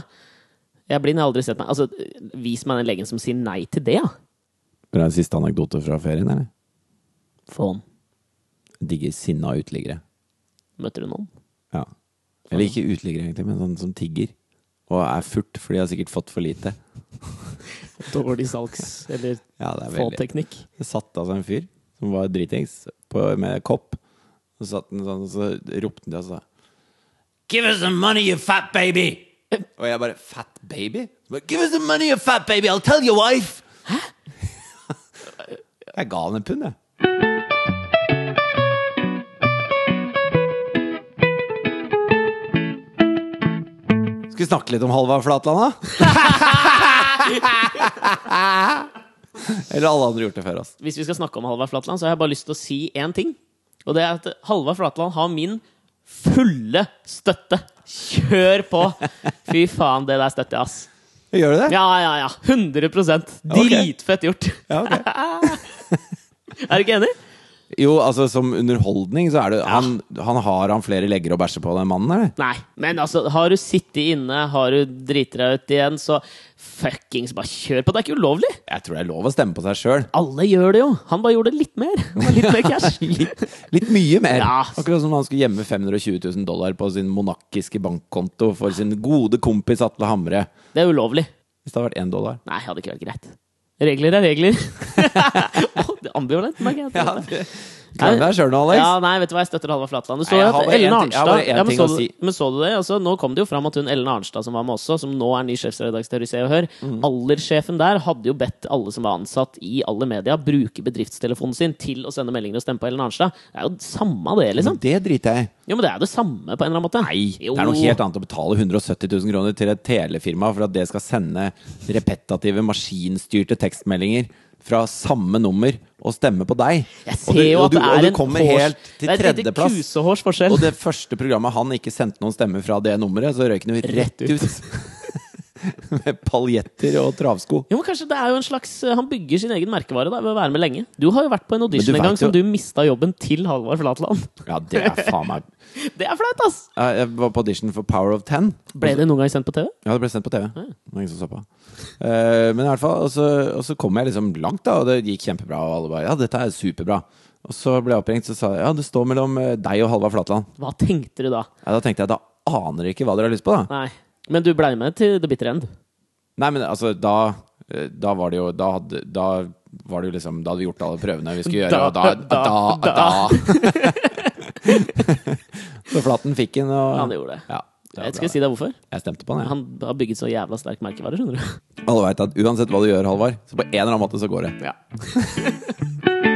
Jeg er blind, jeg har aldri sett meg Altså, vis meg den legen som sier nei til det, ja. Det er en siste anekdote fra ferien, eller? Faen. Digger sinna uteliggere. Møter du noen? Ja. Eller ikke uteliggere, egentlig, men sånn som tigger. Og er furt, for de har sikkert fått for lite. Dårlig salgs- eller Ja, det er få veldig teknikk. Det satt altså en fyr som var dritings på- med kopp. Så satt han sånn, og så ropte han til oss da. Give us some money, you fat baby! Og jeg bare Fat baby? Så Bare, Give us some money, you fat baby! I'll tell your wife! jeg ga han en pund, jeg. Skal vi snakke litt om Halvard Flatland, da? Eller alle andre gjort det før oss. Hvis vi skal snakke om Halvard Flatland, så har jeg bare lyst til å si én ting. Og det er at Halvard Flatland har min fulle støtte. Kjør på! Fy faen, det der støtter jeg, ass. Gjør du det? Ja, ja, ja. 100 Dritfett gjort. Ja, ok. Er du ikke enig? Jo, altså som underholdning så er det han, han Har han flere legger å bæsje på, den mannen, eller? Nei. Men altså, har du sittet inne, har du driti deg ut igjen, så fuckings bare kjør på. Det er ikke ulovlig. Jeg tror det er lov å stemme på seg sjøl. Alle gjør det jo. Han bare gjorde det litt mer. Han var litt mer cash. Litt mye mer. Ja. Akkurat som han skulle gjemme 520 000 dollar på sin monarkiske bankkonto for sin gode kompis Atle Hamre. Det er ulovlig. Hvis det hadde vært én dollar. Nei, hadde ikke vært greit. Regler er regler. Åh, det er ambivalent, merker jeg. Ja, det, Klarer du deg sjøl nå, Alex? Ja, nei, vet du hva, jeg støtter Halvard Flatland. Du så Nei, jeg jo har at bare Ellen en ting- jeg har Arnstad bare en ja, men, ting så å du, si. men så du det? Altså, nå kom det jo fram at hun Ellen Arnstad, som var med også, som nå er ny sjefsredaktør i Se og Hør, Mm. alderssjefen der hadde jo bedt alle som var ansatt i alle media, bruke bedriftstelefonen sin til å sende meldinger og stemme på Ellen Arnstad. Det er jo samme det, liksom. Men det driter jeg i. Jo, men det er jo det samme på en eller annen måte. Mm. Nei, det er noe Oh. helt annet å betale 170 000 kroner til et telefirma for at det skal sende repetative, maskinstyrte tekstmeldinger fra samme nummer og stemme på deg. Jeg Og ser du- jo og at du- det og er du en kommer hårs- helt Det til er et lite tredjeplass. kusehårs forskjell. Og det første programmet han ikke sendte noen stemmer fra det nummeret, så røyk han jo rett Rett ut. med paljetter og travsko. Jo, men kanskje det er jo en slags eh, Han bygger sin egen merkevare da, ved å være med lenge. Du har jo vært på en Men audition du en gang vet jo- som du mista jobben til Halvard Flatland. Ja, det er faen meg Det er flaut, ass! Jeg jeg var på audition for Power of Ten. Ble det noen gang sendt på TV? Ja, det ble sendt på TV. Det var Ingen som så på. Eh, men i hvert fall, og så, og så kom jeg liksom langt, da, og det gikk kjempebra. Og alle bare 'ja, dette er superbra'. Og så ble jeg oppringt, så sa jeg 'ja, det står mellom eh, deg og Halvard Flatland'. Hva tenkte du da? Ja, da tenkte jeg 'da aner dere ikke hva dere har lyst på', da. Nei. Men du blei med til The Bitter End. Nei, men altså, da eh, Da var det jo Da, hadde, da var det jo liksom Da hadde vi gjort alle prøvene vi skulle gjøre, Da, og da da, Da, da, Så Flatten fikk den, og Ja, han gjorde det. Ja, det var Jeg bra. skal si deg hvorfor. jeg stemte på den, Han har bygget så jævla sterk merkevare, skjønner du. jeg. Alle veit at uansett hva du gjør, Halvard, så på en eller annen måte så går det. Ja.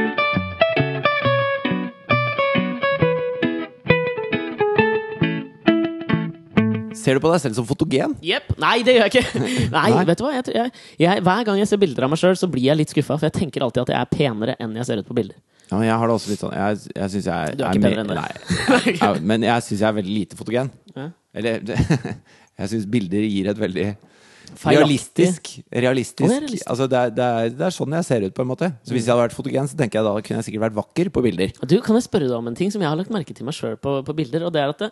Ser du på deg selv som fotogen? Jepp. Nei, det gjør jeg ikke! Nei, Nei. vet du hva? Jeg, tror- jeg, jeg, hver gang jeg ser bilder av meg sjøl, så blir jeg litt skuffa. For jeg tenker alltid at jeg er penere enn jeg ser ut på bilder. Ja, men jeg har det også litt sånn Jeg, jeg syns jeg Du er ikke mer- bedre enn det. Nei. Ja, men jeg syns jeg er veldig lite fotogen. Eller Jeg syns bilder gir et veldig Realistisk. Å, realistisk. det er realistisk. Mm. Altså, det, er, det, er, det er sånn jeg ser ut, på en måte. Så hvis jeg hadde vært fotogen, så tenker jeg da kunne jeg sikkert vært vakker på bilder. Du, Kan jeg spørre deg om en ting som jeg har lagt merke til meg sjøl på, på bilder? Og det er at det,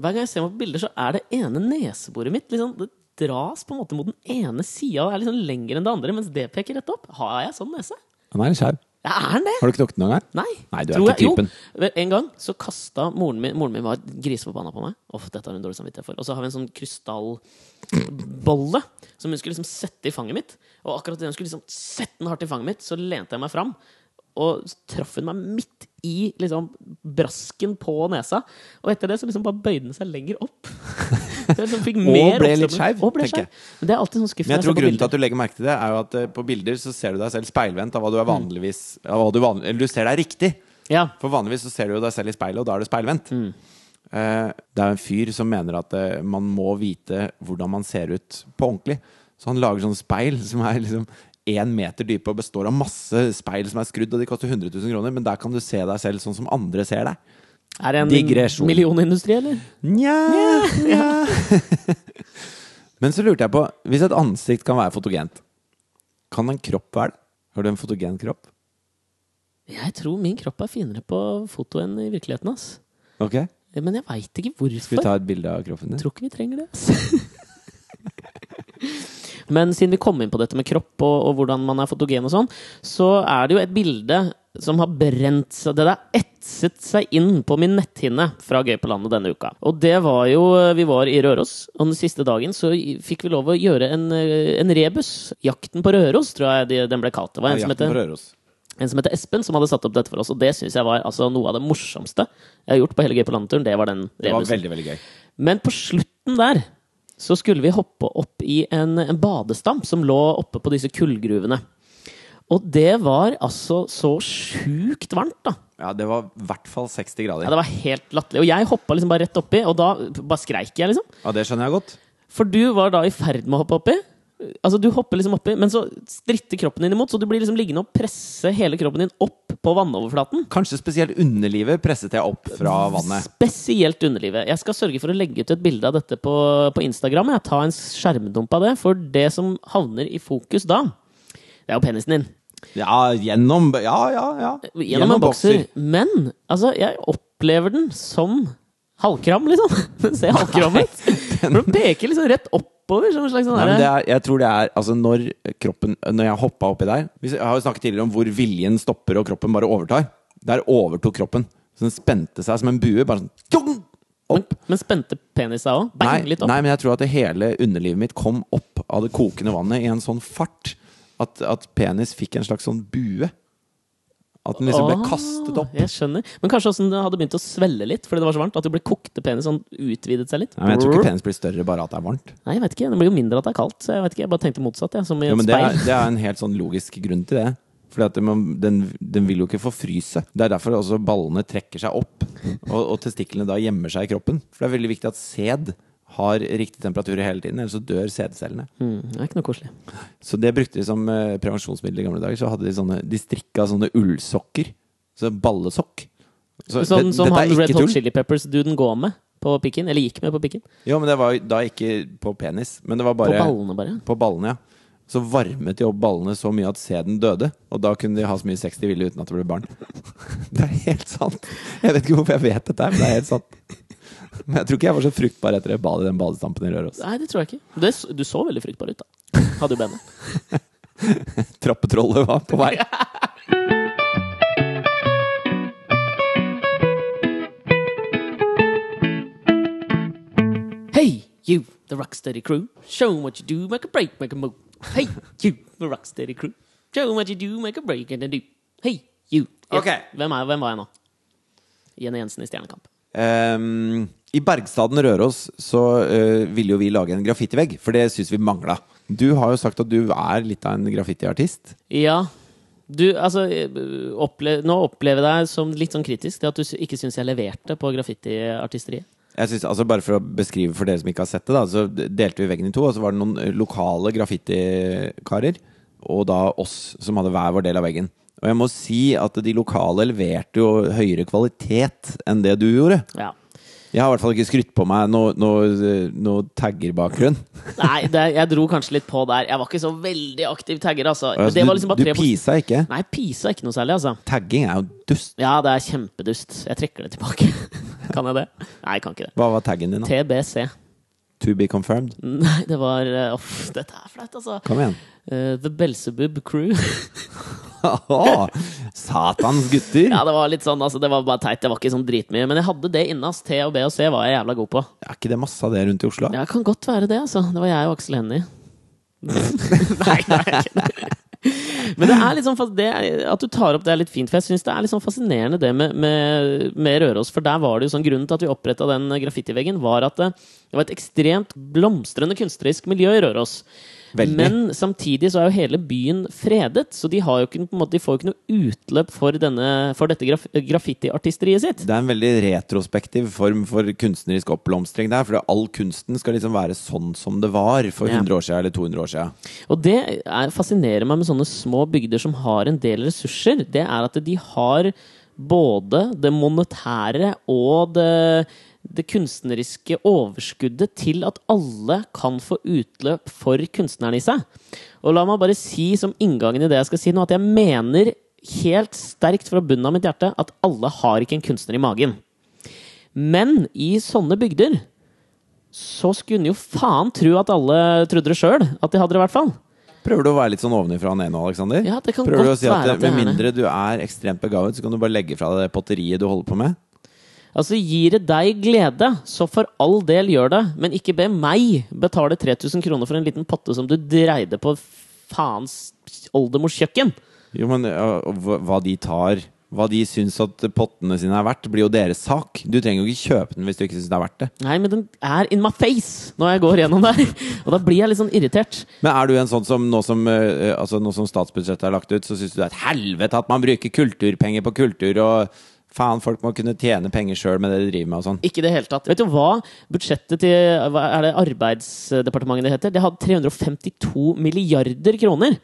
Hver gang jeg ser meg på bilder, så er det ene neseboret mitt liksom, Det dras på en måte mot den ene sida og er liksom lengre enn det andre, mens det peker rett opp. Har jeg sånn nese? Han er en skau. Ja, Er den det? Har du knokt noen gang? Nei. Nei, du er Tror ikke jeg- jo, typen. vel, en gang så kasta moren min Moren min var griseforbanna på meg. Uff, dette har hun dårlig samvittighet for. Og så har vi en sånn krystallbolle som hun skulle liksom sette i fanget mitt. Og akkurat idet hun skulle liksom sette den hardt i fanget mitt, så lente jeg meg fram. Og så traff hun meg midt i liksom brasken på nesa. Og etter det så liksom bare bøyde den seg lenger opp. Så jeg liksom fikk mer ble litt oppstøvning. skeiv, Og ble tenker jeg. skeiv. Men det er alltid sånn skuffende. Men jeg tror grunnen til bilder. at du legger merke til det, er jo at eh, på bilder så ser du deg selv speilvendt av hva du er vanligvis av hva du vanlig, Eller du ser deg riktig. ja. For vanligvis så ser du jo deg selv i speilet, og da er du speilvendt. Eh, Det er jo en fyr som mener at eh, man må vite hvordan man ser ut på ordentlig. Så han lager sånne speil som er liksom én meter dype og består av masse speil som er skrudd, og de koster 100 000 kroner, men der kan du se deg selv sånn som andre ser deg. Er det en Digresjon. millionindustri, eller? Nja, nja. Men så lurte jeg på, hvis et ansikt kan være fotogent, kan en kropp være det? Har du en fotogen kropp? Jeg tror min kropp er finere på foto enn i virkeligheten. ass. Ok, Men jeg veit ikke skal vi hvorfor. ta et bilde av kroppen Jeg din? tror ikke vi trenger det. ass. Men siden vi kom inn på dette med kropp og, og hvordan man er fotogen, og sånn, så er det jo et bilde som har brent seg Det er ett kretset seg inn på min netthinne fra Gøy på landet denne uka. Og det var jo eh, Vi var i Røros, og den siste dagen så fikk vi lov å gjøre en, eh, en rebus. 'Jakten på Røros', tror jeg de- den ble kalt. Det var en som Jakten på heter Røros. en som heter Espen, som hadde satt opp dette for oss. Og det syns jeg var altså, noe av det morsomste jeg har gjort på hele Gøy på landet-turen. Det var den Det var rebusen. veldig, veldig gøy. Men på slutten der så skulle vi hoppe opp i en, en badestamp som lå oppe på disse kullgruvene. Og det var altså så sjukt varmt, da. Ja, det var i hvert fall 60 Ja, grader. det var helt latterlig. Og jeg hoppa liksom bare rett oppi, og da bare skreik jeg, liksom. Ja, det skjønner jeg godt. For du var da i ferd med å hoppe oppi. Altså, du hopper liksom oppi, men så stritter kroppen din imot, så du blir liksom liggende og presse hele kroppen din opp på vannoverflaten. Kanskje spesielt underlivet presset jeg opp fra vannet. Spesielt underlivet. Jeg skal sørge for å legge ut et bilde av dette på, på Instagram. Jeg tar en skjermdump av det, for det som havner i fokus da, det er jo penisen din. Ja, gjennom Ja, ja, ja. Gjennom, en bokser. Men altså, jeg opplever den som halvkram, liksom. Den ser halvkram ut. For den peker liksom rett oppover. Som en slags sånn Nei, derre- men det er, jeg tror det er Altså, når kroppen Når jeg hoppa oppi der vi s- Jeg har jo snakket tidligere om hvor viljen stopper og kroppen bare overtar. Der overtok kroppen. Så den spente seg som en bue. Bare sånn tjong, men, opp. men spente penis deg òg? Bang, Nei, litt opp. nei, men jeg tror at det hele underlivet mitt kom opp av det kokende vannet i en sånn fart at, at penis fikk en slags sånn bue. At den liksom ble Ah, kastet opp. Jeg skjønner. Men kanskje også den hadde begynt å svelle litt fordi det var så varmt? At du ble kokte penis sånn utvidet seg litt? Nei, men jeg tror ikke penis blir større bare at det er varmt. Nei, jeg vet ikke. Det blir jo mindre at det er kaldt. Så jeg vet ikke, jeg bare tenkte motsatt, jeg. Som i Jo, et men det er, speil. det er en helt sånn logisk grunn til det. Fordi at man, den, den vil jo ikke forfryse. Det er derfor også ballene trekker seg opp, og, og testiklene da gjemmer seg i kroppen. For det er veldig viktig at sæd har riktig temperatur hele tiden, ellers så dør sædcellene. Mm, det er ikke noe koselig. Så det brukte de som eh, prevensjonsmiddel i gamle dager. Så hadde de sånne De strikka sånne ullsokker. Så ballesokk. Så Sånn det- som dette er han ikke Red Hot tull. Chili Peppers-duden går med på pikken. Eller gikk med på pikken. Jo, men det var jo da ikke på penis, men det var På bare ballene, bare. på ballene, ja. Så varmet de opp ballene så mye at sæden døde. Og da kunne de ha så mye sex de ville uten at det ble barn. Det er helt sant. Jeg vet ikke hvorfor jeg vet dette, her, men det er helt sant. Men jeg tror ikke jeg var så fruktbar etter det badet i den badestampen i Røros. Nei, det tror jeg ikke. Det, s- du så veldig fruktbar ut, da. Hadde jo benet. Trappetrollet var på vei. Hey, you, the Rocksteady crew. Show 'em what you do, make a break, make a move. Hey, you, the Rocksteady crew. Show 'em what you do, make a break and a do. Hey, you. Ja. Ok. Hvem, er, hvem var jeg nå? Jenny Jensen i Stjernekamp. Ehm, I Bergstaden Røros så eh, ville jo vi lage en graffitivegg, for det syns vi mangla. Du har jo sagt at du er litt av en graffitiartist. Ja. Du, altså eh, opple Nå opplever jeg deg som litt sånn kritisk til at du s- ikke syns jeg leverte på graffitiartisteriet. Jeg synes, altså Bare for å beskrive for dere som ikke har sett det, da, så delte vi veggen i to. Og så var det noen eh, lokale graffitikarer, og da oss, som hadde hver vår del av veggen. Og jeg må si at de lokale leverte jo høyere kvalitet enn det du gjorde. Ja. Jeg har i hvert fall ikke skrytt på meg noe, noe, eh, noe taggerbakgrunn. Nei, det, jeg dro kanskje litt på der. Jeg var ikke så veldig aktiv tagger, altså. Men Altså, det var liksom du, bare du tre på pisa ikke. Nei, pisa er ikke noe særlig, altså. Tagging er jo dust. Ja, det er kjempedust. Jeg trekker det tilbake. kan jeg det? Nei, jeg kan ikke det. Hva var taggen din, da? TBC. To be confirmed? Nei, det var eh, Uff, dette er flaut, altså. Kom igjen. Eh, the Belzebub Crew. Åh, satans gutter! ja, det var litt sånn, altså. Det var bare teit. Det var ikke sånn dritmye. Men jeg hadde det inne, ass. T og B og C var jeg jævla god på. Er ikke det masse av det rundt i Oslo? Ja, kan godt være det, altså. Det var jeg og Aksel Hennie. nei, nei. ikke det. Men det er litt sånn, fas- det er, at du tar opp det er litt fint, for jeg syns det er litt sånn fascinerende det med, med, med Røros. For der var det jo sånn grunnen til at vi oppretta den graffitiveggen, var at det, det var et ekstremt blomstrende kunstnerisk miljø i Røros. Veldig. Men samtidig så er jo hele byen fredet, så de, har jo ikke, på en måte, de får jo ikke noe utløp for, denne, for dette graf graffitiartisteriet sitt. Det er en veldig retrospektiv form for kunstnerisk oppblomstring der. For all kunsten skal liksom være sånn som det var for Ja. 100 år siden eller 200 år siden. Og det er, fascinerer meg med sånne små bygder som har en del ressurser. Det er at de har både det monetære og det, det kunstneriske overskuddet til at alle kan få utløp for kunstneren i seg. Og la meg bare si som inngangen i det jeg skal si nå, at jeg mener helt sterkt fra bunnen av mitt hjerte at alle har ikke en kunstner i magen. Men i sånne bygder så skulle en jo faen tro at alle trodde det sjøl. At de hadde det, i hvert fall. Prøver du å være litt sånn ovenifra og ned nå, Aleksander? Ja, det kan Prøver du å godt si at være at med jeg er det. mindre du er ekstremt begavet, så kan du bare legge fra deg det potteriet du holder på med? Altså, gir det deg glede, så for all del gjør det, men ikke be meg betale 3000 kroner for en liten potte som du dreide på faens oldemors kjøkken. Jo, men ja, og hva hva de tar Hva de syns at pottene sine er verdt, blir jo deres sak. Du trenger jo ikke kjøpe den hvis du ikke syns det er verdt det. Nei, men den er in my face når jeg går gjennom der, og da blir jeg litt sånn irritert. Men er du en sånn som nå som, eh, altså, nå som statsbudsjettet er lagt ut, så syns du det er et helvete at man bruker kulturpenger på kultur, og faen, folk må kunne tjene penger sjøl med det de driver med og sånn. Ikke i det hele tatt. Vet du hva? Budsjettet til hva er det Arbeidsdepartementet det heter, det hadde 352 milliarder kroner.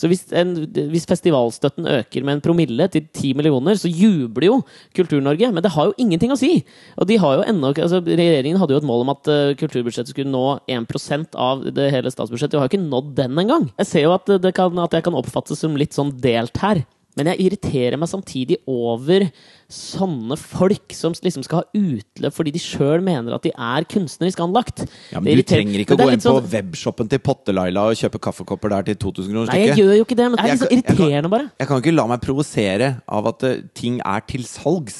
Så hvis, en, hvis festivalstøtten øker med en promille til ti millioner, så jubler jo Kultur-Norge. Men det har jo ingenting å si! Og de har jo ennå, ikke- altså, regjeringen hadde jo et mål om at eh, kulturbudsjettet skulle nå 1 av det hele statsbudsjettet. De har jo ikke nådd den engang! Jeg ser jo at, det kan, at jeg kan oppfattes som litt sånn delt her. Men jeg irriterer meg samtidig over sånne folk som liksom skal ha utløp fordi de sjøl mener at de er kunstnerisk anlagt. Det Ja, men du irriterer- trenger ikke å Men det er gå inn litt sånn- på webshoppen til Potte-Laila og kjøpe kaffekopper der til 2000 kroner Nei, jeg stykket. gjør jo ikke det, men det er litt så Jeg kan- jeg kan- irriterende, bare. Jeg kan ikke la meg provosere av at eh, ting er til salgs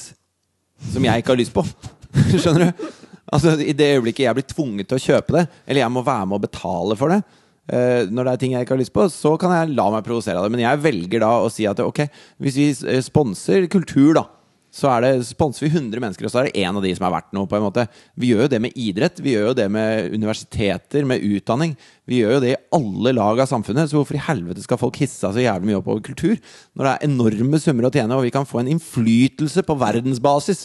som jeg ikke har lyst på. Skjønner du? Altså, I det øyeblikket jeg blir tvunget til å kjøpe det, eller jeg må være med og betale for det, eh, når det er ting jeg ikke har lyst på, så kan jeg la meg provosere av det. Men jeg velger da å si at ok, hvis vi eh, sponser kultur, da. Så er det, sponser vi 100 mennesker, og så er det én av de som er verdt noe. på en måte Vi gjør jo det med idrett, vi gjør jo det med universiteter, med utdanning. Vi gjør jo det i alle lag av samfunnet, så hvorfor i helvete skal folk hisse seg så jævlig mye opp over kultur? Når det er enorme summer å tjene, og vi kan få en innflytelse på verdensbasis.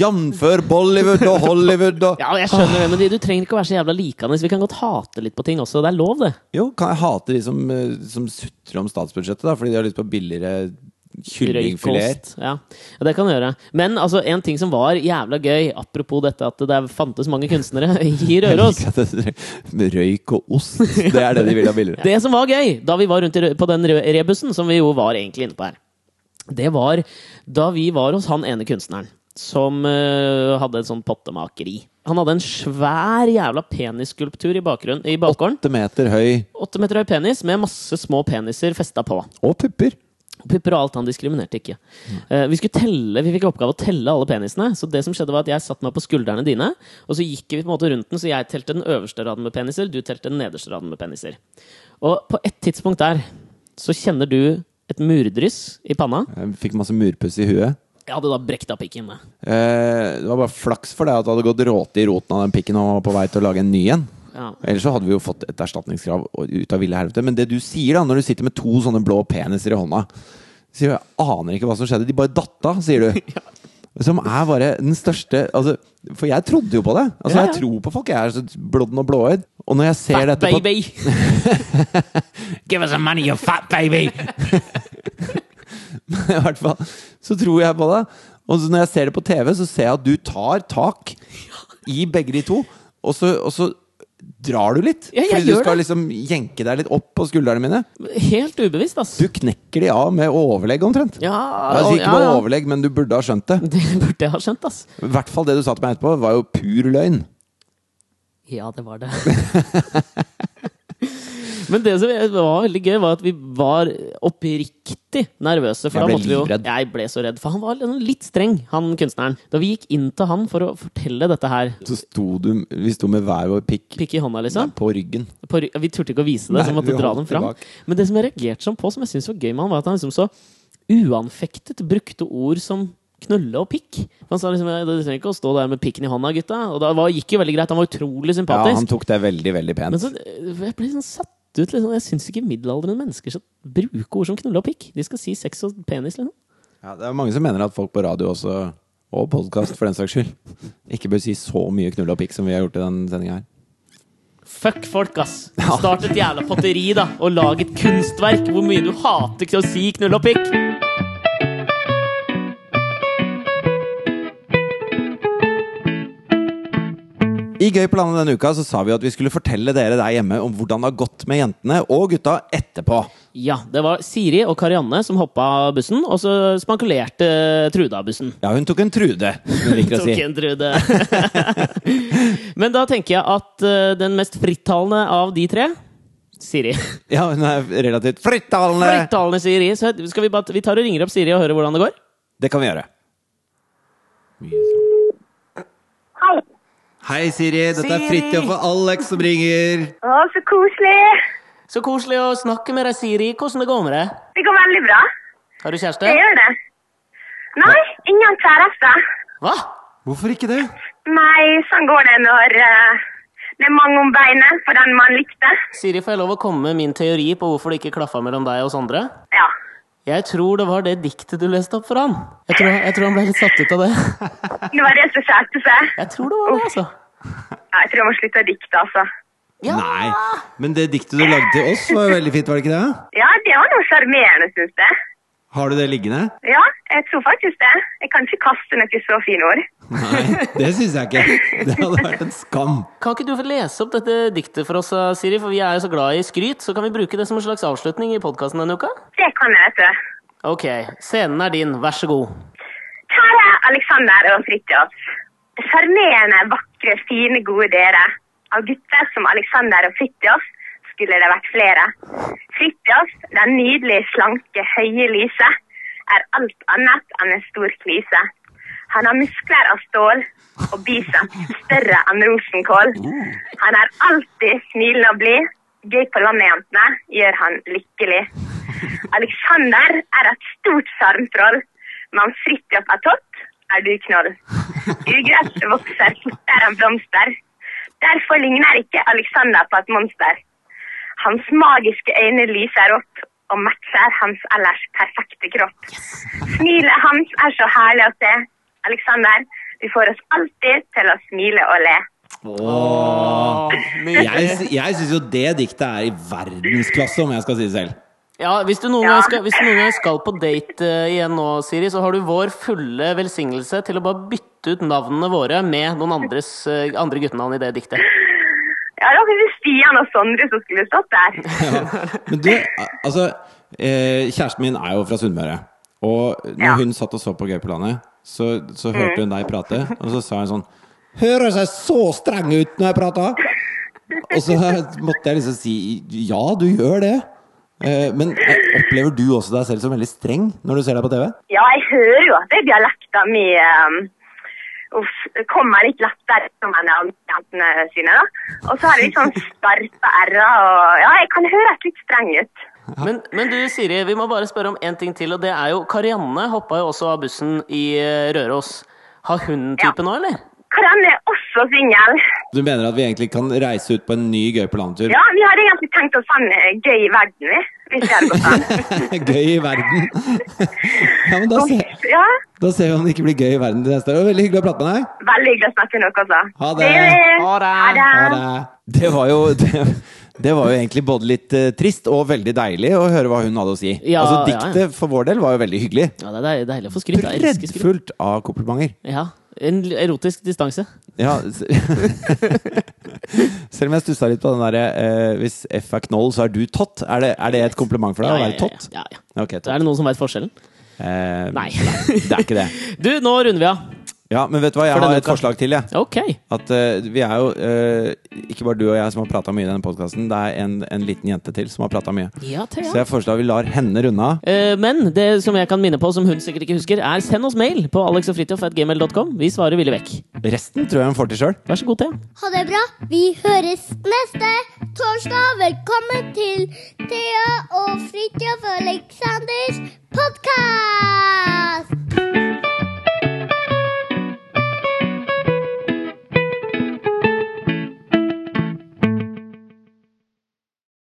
Jamfør Bollywood og Hollywood og Ja, men jeg skjønner det, men de- du trenger ikke å være så jævla likende. Vi kan godt hate litt på ting også. Det er lov, det. Jo, kan jeg hate de som, eh, som sutrer om statsbudsjettet, da, fordi de har lyst på billigere kyllingfileter? Røykost. Ja. ja, det kan du gjøre. Men altså, en ting som var jævla gøy, apropos dette at det fantes mange kunstnere i Røros Jeg liker at det- Røyk og ost, det er det de vil ha billigere. Det som var gøy da vi var rundt i, rø- på den rø- rebussen, som vi jo var egentlig inne på her, det var da vi var hos han ene kunstneren som eh, hadde en sånn pottemakeri. Han hadde en svær jævla penisskulptur i, bakgrunnen- i bakgården. Åtte meter høy Åtte meter høy penis med masse små peniser festa på. og pupper. Og Pipper og alt han diskriminerte ikke. Eh, vi skulle telle, vi fikk i oppgave å telle alle penisene. Så det som skjedde var at jeg satte meg på skuldrene dine, og så gikk vi på en måte rundt den, så jeg telte den øverste raden med peniser, du telte den nederste raden med peniser. Og på et tidspunkt der så kjenner du et murdryss i panna. Jeg fikk masse murpuss i huet. Jeg hadde da brekt av pikken. da. Eh, Det var bare flaks for deg at det hadde gått råte i roten av den pikken og var på vei til å lage en ny en. Ja. Ellers så hadde vi jo fått et erstatningskrav ut av ville helvete. Men det du sier da, når du sitter med to sånne blå peniser i hånda sier du, Jeg aner ikke hva som skjedde, de bare datt av, sier du. Som er bare den største altså, For jeg trodde jo på det. Altså, Ja, ja. Jeg tror på folk. Jeg er så blodden og blåøyd. Og når jeg ser Fat dette på baby! Give us some money, you fat baby. i hvert fall, så tror jeg på det. Og så når jeg ser det på TV, så ser jeg at du tar tak i begge de to, og så, og så drar du litt. Ja, jeg fordi du gjør skal det. liksom jenke deg litt opp på skuldrene mine. Helt ubevisst, ass. Du knekker de av med overlegg, omtrent. Ja, Jeg sier ikke ja, Mm. med ja. overlegg, men du burde ha skjønt det. Det burde jeg ha skjønt, ass. I hvert fall det du sa til meg etterpå, var jo pur løgn. Ja, det var det. Men det som var veldig gøy, var at vi var oppriktig nervøse. For Jeg da ble måtte vi jo, livredd. jeg ble så redd, for han var liksom litt streng, han kunstneren. Da vi gikk inn til han for å fortelle dette her, Så sto du Vi sto med hver vår pikk pikk i hånda, liksom på ryggen. på, ry- Vi turte ikke å vise det, så vi Nei, måtte vi dra holdt dem fram. tilbake. Men det som jeg reagerte sånn på, som jeg syntes var gøy med han, var at han liksom så uanfektet brukte ord som knulle og pikk. For Han sa liksom «Ja, Du trenger ikke å stå der med pikken i hånda, gutta. Og da var, gikk jo veldig greit. Han var utrolig Ja, sympatisk. han tok det veldig, veldig pent. Men så, jeg ble sånn satt ut. Liksom. Jeg syns ikke middelaldrende mennesker skal bruke ord som knulle og pikk. De skal si sex og penis, liksom. Ja, det er mange som mener at folk på radio også, og podkast for den saks skyld, ikke bør si så mye knull og pikk som vi har gjort i den sendinga her. Fuck folk, ass! Start et jævla potteri, da, og lag et kunstverk hvor mye du hater ikke å si knulle og pikk! I Gøy på landet denne uka så sa vi at vi skulle fortelle dere der hjemme om hvordan det har gått med jentene og gutta etterpå. Ja, det var Siri og Karianne som hoppa av bussen, og så spankulerte Trude av bussen. Ja, hun tok en Trude, som hun liker å si. Tok en Trude. Men da tenker jeg at eh, den mest frittalende av de tre Siri. Ja, hun er relativt frittalende! Flyttalende Siri. Så skal vi, bare, vi tar og ringer opp Siri og hører hvordan det går. Det kan vi gjøre. Hei. Hei, Siri. Dette er Fridtjof og Alex som ringer. Å, så koselig. Så koselig å snakke med deg, Siri. Hvordan det går med deg? Det går veldig bra. Har du kjæreste? Det gjør det. Nei, ingen kjæreste. Hva? Hvorfor ikke det? Nei, sånn går det når eh, det er mange om beinet for den man likte. Siri, får jeg lov å komme med min teori på hvorfor det ikke klaffa mellom deg og Sondre? Ja. Jeg tror det var det diktet du leste opp for han. Jeg tror, jeg tror han ble litt satt ut av det. Det var det som skjedde seg. Jeg tror det var det, altså. Ja, jeg tror jeg må slutte å dikte, altså. Ja. Nei, men det diktet du lagde til oss var jo veldig fint, var det ikke det? Ja, det var noe sjarmerende, syns jeg. Har du det liggende? Ja, jeg tror faktisk det. Jeg kan ikke kaste noe så fine ord. Nei, det syns jeg ikke. Det hadde vært en skam. Kan ikke du få lese opp dette diktet for oss, da, Siri? For vi er jo så glad i skryt, så kan vi bruke det som en slags avslutning i podkasten denne uka? Det kan jeg, vet du. Ok, scenen er din. Vær så god. Kjære Alexander og Fridtjof. Sjarmerende, vakre, fine, gode dere. Av gutter som Alexander og Fridtjof skulle det vært flere. Fridtjof, den nydelige, slanke, høye Lise, er alt annet enn en stor klise. Han har muskler av stål og biceps større enn rosenkål. Han er alltid smilende og blid. Gøy på landet, jentene, gjør han lykkelig. Alexander er et stort sjarmtroll, men Fridtjof er tott, er du knoll. Ugress vokser fortere enn blomster. Derfor ligner ikke Alexander på et monster. Hans magiske øyne lyser opp og matcher hans ellers perfekte kropp. Smilet hans er så herlig å se. Alexander, du får oss alltid til å smile og le. Jeg, sy- jeg syns jo det diktet er i verdensklasse, om jeg skal si det selv. Ja, hvis du noen, Ja. gang, skal, hvis du noen gang skal på date eh, igjen nå, Siri, så har du vår fulle velsignelse til å bare bytte ut navnene våre med noen andres, eh, andre guttenavn i det diktet. Ja, det var kanskje Stian og Sondre som skulle stått der. Men du, altså eh, Kjæresten min er jo fra Sunnmøre. Og når Ja. hun satt og så på Gøy på landet, så, så hørte hun deg prate, og så sa hun sånn Høres jeg så streng ut når jeg prater? Og så måtte jeg liksom si ja, du gjør det. Eh, men eh, opplever du også deg selv som veldig streng når du ser deg på TV? Ja, jeg hører jo at det er dialekter mi um, uff, kommer litt lettere som enn de andre jentene sine. da. Og så har jeg litt sånn skarpe r-er. og Ja, jeg kan høres litt streng ut. Men, men du, Siri, vi må bare spørre om én ting til, og det er jo Karianne hoppa jo også av bussen i eh, Røros. Har hun type nå, eller? Karan er også singel. Du mener at vi egentlig kan reise ut på en ny Gøy på landet-tur? Ja, vi hadde egentlig tenkt oss sånn eh, gøy i verden, vi. Hvis det hadde gått an. gøy i verden. ja, men da ser, Ja, da ser vi om det ikke blir gøy i verden til neste år. Det var Veldig hyggelig å prate med deg. veldig hyggelig å snakke med dere, altså. Ha det. Ha det. Ha det. Det var jo det, det var jo egentlig både litt eh, trist og veldig deilig å høre hva hun hadde å si. Ja, altså ja, ja. Diktet for vår del var jo veldig hyggelig. Ja, det er deil- deilig å få skryt. Jeg elsker skryt. Breddfullt av komplimenter. Ja, En l- erotisk distanse. Ja, s- Selv om jeg stussa litt på den derre eh, Hvis F er knoll, så er du tott. Er det, er det et kompliment for deg Ja, å ja, være ja, tott? ja, ja. Så Ok, er tott. det noen som veit forskjellen? Eh, Nei. Det er ikke det. Du, nå runder vi av. Ja, men vet du hva, jeg For har denne et uka. forslag til, jeg. Ok. At eh, vi er jo eh, Ikke bare du og jeg som har prata mye i denne podkasten, det er en, en liten jente til som har prata mye. Ja, Så jeg foreslår vi lar henne runde av. Eh, Men det som jeg kan minne på, som hun sikkert ikke husker, er send oss mail på alexogfritjof.gmail.com. Vi svarer villig vekk. Resten tror jeg hun får til sjøl. Vær så god, Thea. Ha det bra. Vi høres neste torsdag. Velkommen til Thea og Fridtjof Aleksanders podkast!